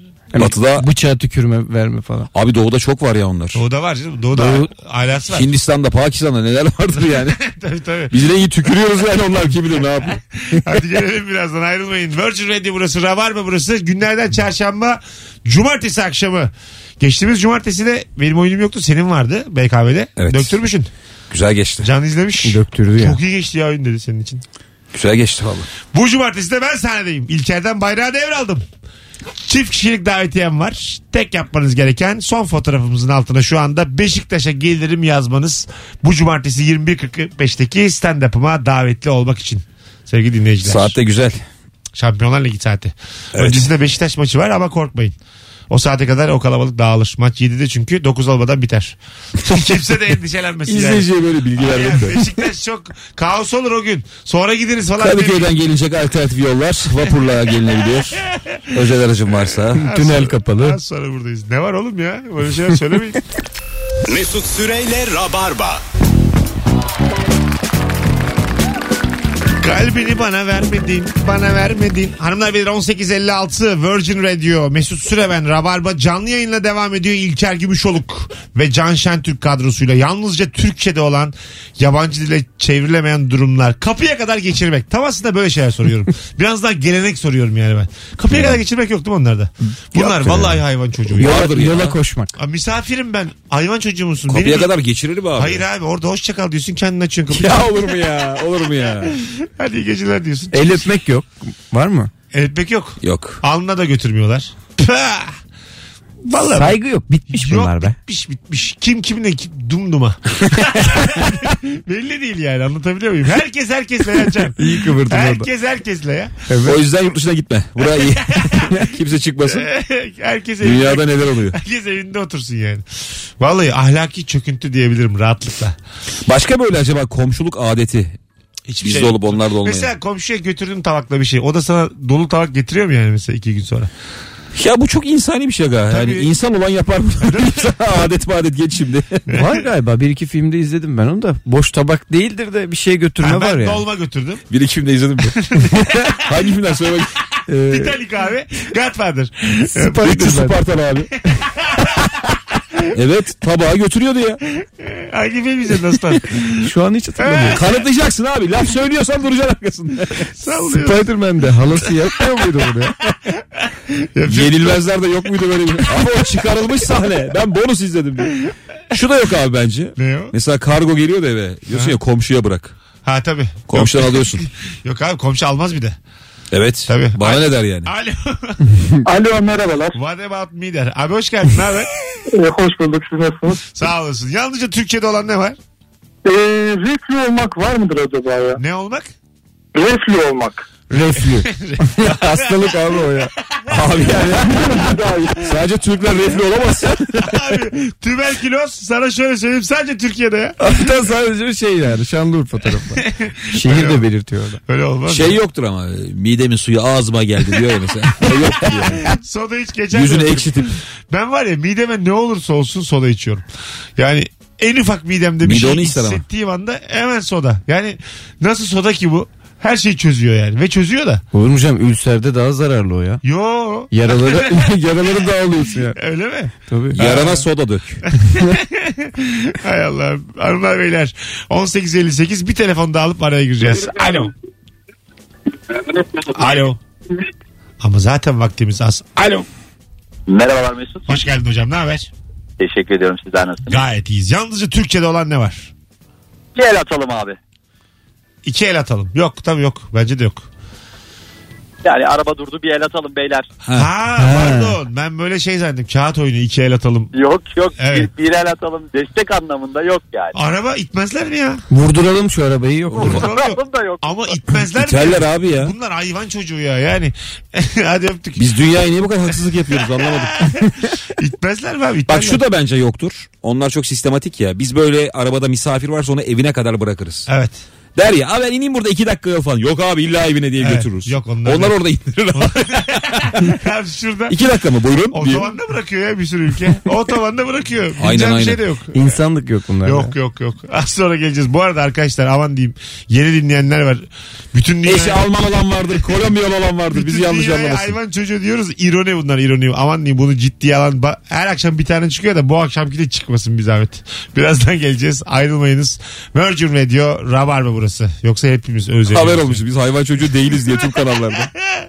Speaker 4: Yani
Speaker 3: Batı'da-
Speaker 4: Bıçağa tükürme verme falan.
Speaker 3: Abi doğuda çok var ya onlar.
Speaker 2: Doğuda var canım. Doğuda
Speaker 4: Doğu-
Speaker 2: alası var.
Speaker 3: Hindistan'da, Pakistan'da neler vardır yani.
Speaker 2: tabii tabii.
Speaker 3: Biz de iyi tükürüyoruz yani onlar kim bilir ne yapıyor.
Speaker 2: Hadi gelelim birazdan ayrılmayın. Virgin Radio burası, Rabarba burası. Günlerden çarşamba, cumartesi akşamı. Geçtiğimiz cumartesi de benim oyunum yoktu, senin vardı BKM'de.
Speaker 3: Evet.
Speaker 2: Döktürmüşsün.
Speaker 3: Güzel geçti.
Speaker 2: Can izlemiş.
Speaker 4: Döktürdü ya.
Speaker 2: Çok iyi geçti ya oyun dedi senin için.
Speaker 3: Güzel geçti valla.
Speaker 2: Bu cumartesi de ben sahnedeyim. İlker'den bayrağı devraldım. Çift kişilik davetiyem var. Tek yapmanız gereken son fotoğrafımızın altına şu anda Beşiktaş'a gelirim yazmanız. Bu cumartesi 21.45'teki stand-up'ıma davetli olmak için. Sevgili dinleyiciler.
Speaker 3: Saat de güzel.
Speaker 2: Şampiyonlar Ligi saati.
Speaker 3: Evet.
Speaker 2: Öncesinde Beşiktaş maçı var ama korkmayın. O saate kadar o kalabalık dağılır. Maç 7'de çünkü 9 olmadan biter. Kimse de endişelenmesin. yani.
Speaker 3: İzleyiciye böyle bilgi
Speaker 2: Ya
Speaker 3: vermek de.
Speaker 2: Beşiktaş çok kaos olur o gün. Sonra gidiniz falan.
Speaker 3: Kadıköy'den gelecek alternatif yollar vapurla gelinebiliyor. Özel aracın varsa.
Speaker 4: Tünel kapalı.
Speaker 2: Az sonra buradayız. Ne var oğlum ya? Böyle şeyler söylemeyin.
Speaker 1: Mesut Süreyle Rabarba.
Speaker 2: Kalbini bana vermedin, bana vermedin. Hanımlar beyler 18.56 Virgin Radio Mesut Süreven Rabarba canlı yayınla devam ediyor. İlker Gümüşoluk ve Can Şentürk kadrosuyla yalnızca Türkçe'de olan yabancı dile çevrilemeyen durumlar. Kapıya kadar geçirmek. Tam aslında böyle şeyler soruyorum. Biraz daha gelenek soruyorum yani ben. Kapıya kadar geçirmek yok değil mi onlarda? Bunlar vallahi hayvan çocuğu. Ya.
Speaker 3: Vardır
Speaker 4: Yola,
Speaker 3: ya.
Speaker 4: yola koşmak.
Speaker 2: Aa, Misafirim ben. Hayvan çocuğu musun?
Speaker 3: Kapıya
Speaker 2: Benim-
Speaker 3: kadar geçirilir mi abi?
Speaker 2: Hayır abi orada hoşça kal diyorsun kendini açıyorsun kapıyı.
Speaker 3: Ya olur mu ya? Olur mu ya?
Speaker 2: Hadi iyi geceler diyorsun.
Speaker 4: El öpmek yok. Var mı?
Speaker 2: Evet pek yok.
Speaker 3: Yok.
Speaker 2: Alnına da götürmüyorlar. Pah! Vallahi
Speaker 4: Saygı yok. Bitmiş
Speaker 2: Yok
Speaker 4: bunlar be.
Speaker 2: bitmiş bitmiş. Kim kimle kim, dumduma. Belli değil yani anlatabiliyor muyum? Herkes herkesle ya Can.
Speaker 4: İyi kıvırdın orada.
Speaker 2: Herkes herkesle ya.
Speaker 3: O yüzden yurt dışına gitme. Buraya iyi. Kimse çıkmasın.
Speaker 2: Herkes evinde,
Speaker 3: Dünyada neler oluyor?
Speaker 2: herkes evinde otursun yani. Vallahi ahlaki çöküntü diyebilirim rahatlıkla.
Speaker 3: Başka böyle acaba komşuluk adeti.
Speaker 2: Hiçbir
Speaker 3: Bizde
Speaker 2: şey-
Speaker 3: olup onlar da olmayan.
Speaker 2: Mesela komşuya götürdün tabakla bir şey. O da sana dolu tabak getiriyor mu yani mesela iki gün sonra?
Speaker 3: Ya bu çok insani bir şey aga. Yani
Speaker 2: Tabii.
Speaker 3: insan olan yapar mı? adet adet geç şimdi.
Speaker 4: Var galiba. Bir iki filmde izledim ben onu da. Boş tabak değildir de bir şey götürme
Speaker 2: Ben,
Speaker 4: var
Speaker 2: ben
Speaker 4: ya.
Speaker 2: dolma götürdüm.
Speaker 3: Bir iki filmde izledim ben. Hangi filmden söyle bakayım.
Speaker 4: Ee,
Speaker 2: Titanic abi. Godfather.
Speaker 3: Üçü Spartan abi. evet tabağı götürüyordu ya.
Speaker 2: Hangi film izledin aslan?
Speaker 4: Şu an hiç hatırlamıyorum.
Speaker 3: Kanıtlayacaksın abi. Laf söylüyorsan duracaksın arkasında.
Speaker 2: Sallıyor.
Speaker 4: Spider-Man'de halası yapmıyor muydu bunu ya?
Speaker 3: Yenilmezler de yok muydu böyle bir? Ama o çıkarılmış sahne. Ben bonus izledim diye. Şu da yok abi bence.
Speaker 2: Ne o?
Speaker 3: Mesela kargo geliyor da eve. Diyorsun ya komşuya bırak.
Speaker 2: Ha tabii.
Speaker 3: Komşudan alıyorsun.
Speaker 2: Yok, yok abi komşu almaz bir de.
Speaker 3: Evet.
Speaker 2: Tabii.
Speaker 3: Bana ne der yani?
Speaker 2: Alo.
Speaker 6: Alo merhabalar.
Speaker 2: What about me der. Abi hoş geldin ne haber?
Speaker 6: Ee, hoş bulduk siz nasılsınız?
Speaker 2: Sağ olasın. Yalnızca Türkiye'de olan ne var?
Speaker 6: Ee, reflü olmak var mıdır acaba ya?
Speaker 2: Ne olmak?
Speaker 6: Reflü olmak.
Speaker 4: Reflü. Hastalık abi o ya.
Speaker 3: Abi yani. Sadece Türkler refli olamaz.
Speaker 2: abi tüberküloz sana şöyle söyleyeyim sadece Türkiye'de ya.
Speaker 4: Hatta sadece bir şey yani. Şanlıurfa tarafı. Şehir de belirtiyor orada.
Speaker 2: Öyle olmaz.
Speaker 3: Şey yoktur ama midemin suyu ağzıma geldi diyor ya mesela. O yoktur yani.
Speaker 2: Soda hiç geçer.
Speaker 3: Yüzünü
Speaker 2: mi?
Speaker 3: ekşitip
Speaker 2: Ben var ya mideme ne olursa olsun soda içiyorum. Yani en ufak midemde bir
Speaker 3: Mide
Speaker 2: şey
Speaker 3: onu ister ama.
Speaker 2: hissettiğim anda hemen soda. Yani nasıl soda ki bu? Her şeyi çözüyor yani. Ve çözüyor da.
Speaker 4: Olur mu canım? Ülserde daha zararlı o ya.
Speaker 2: Yo.
Speaker 4: Yaraları, yaraları dağılıyorsun ya.
Speaker 2: Öyle mi?
Speaker 4: Tabii.
Speaker 3: yarana soda dök.
Speaker 2: Hay Allah. Hanımlar beyler 18.58 bir telefon daha alıp araya gireceğiz. Alo. Alo. Ama zaten vaktimiz az. Alo.
Speaker 11: Merhabalar Mesut.
Speaker 2: Hoş geldin hocam ne haber?
Speaker 11: Teşekkür ediyorum sizler nasılsınız?
Speaker 2: Gayet iyiyiz. Yalnızca Türkçe'de olan ne var?
Speaker 11: Bir el atalım abi.
Speaker 2: İki el atalım. Yok tabii yok. Bence de yok.
Speaker 9: Yani araba durdu bir el atalım beyler.
Speaker 2: Ha, pardon ben böyle şey zannettim kağıt oyunu iki el atalım.
Speaker 9: Yok yok
Speaker 2: Evet.
Speaker 9: bir, bir el atalım destek anlamında yok yani.
Speaker 2: Araba itmezler mi ya?
Speaker 3: Vurduralım şu arabayı yok.
Speaker 9: Anlamı da yok.
Speaker 2: Ama itmezler mi?
Speaker 3: İterler abi ya.
Speaker 2: Bunlar hayvan çocuğu ya yani. Hadi öptük.
Speaker 3: Biz dünyaya niye bu kadar haksızlık yapıyoruz anlamadım.
Speaker 2: İtmezler mi abi?
Speaker 3: Bak şu da bence yoktur. Onlar çok sistematik ya. Biz böyle arabada misafir varsa onu evine kadar bırakırız.
Speaker 2: Evet.
Speaker 3: Der ya "Aa ben ineyim burada iki dakika falan. Yok abi illa evine diye
Speaker 2: Evet,
Speaker 3: götürürüz.
Speaker 2: yok onlar-
Speaker 3: onlar. orada indirir.
Speaker 2: Abi şurada.
Speaker 3: iki dakika mı buyurun? diye.
Speaker 2: Otobanda bırakıyor ya bir sürü ülke. Otobanda bırakıyor.
Speaker 3: Aynen,
Speaker 2: Aynen, bir
Speaker 3: aynen.
Speaker 2: şey de yok.
Speaker 3: İnsanlık yok bunlarda.
Speaker 2: Yok yok yok. Az sonra geleceğiz. Bu arada arkadaşlar aman diyeyim. Yeni dinleyenler var. Bütün dünya...
Speaker 3: Eşi Alman olan vardır, Kolombiyalı olan vardır. Bizi
Speaker 2: bütün
Speaker 3: yanlış
Speaker 2: dünyaya
Speaker 3: anlamasın.
Speaker 2: Hayvan çocuğu diyoruz. İroni bunlar ironi. Aman diyeyim bunu ciddiye alan. Ba- Her akşam bir tane çıkıyor da bu akşamki de çıkmasın bir zahmet. Birazdan geleceğiz. Ayrılmayınız. Virgin Radio Rabar mı burası? Yoksa hepimiz özleriz.
Speaker 3: Haber olmuş. Biz hayvan çocuğu değiliz diye tüm kanallarda.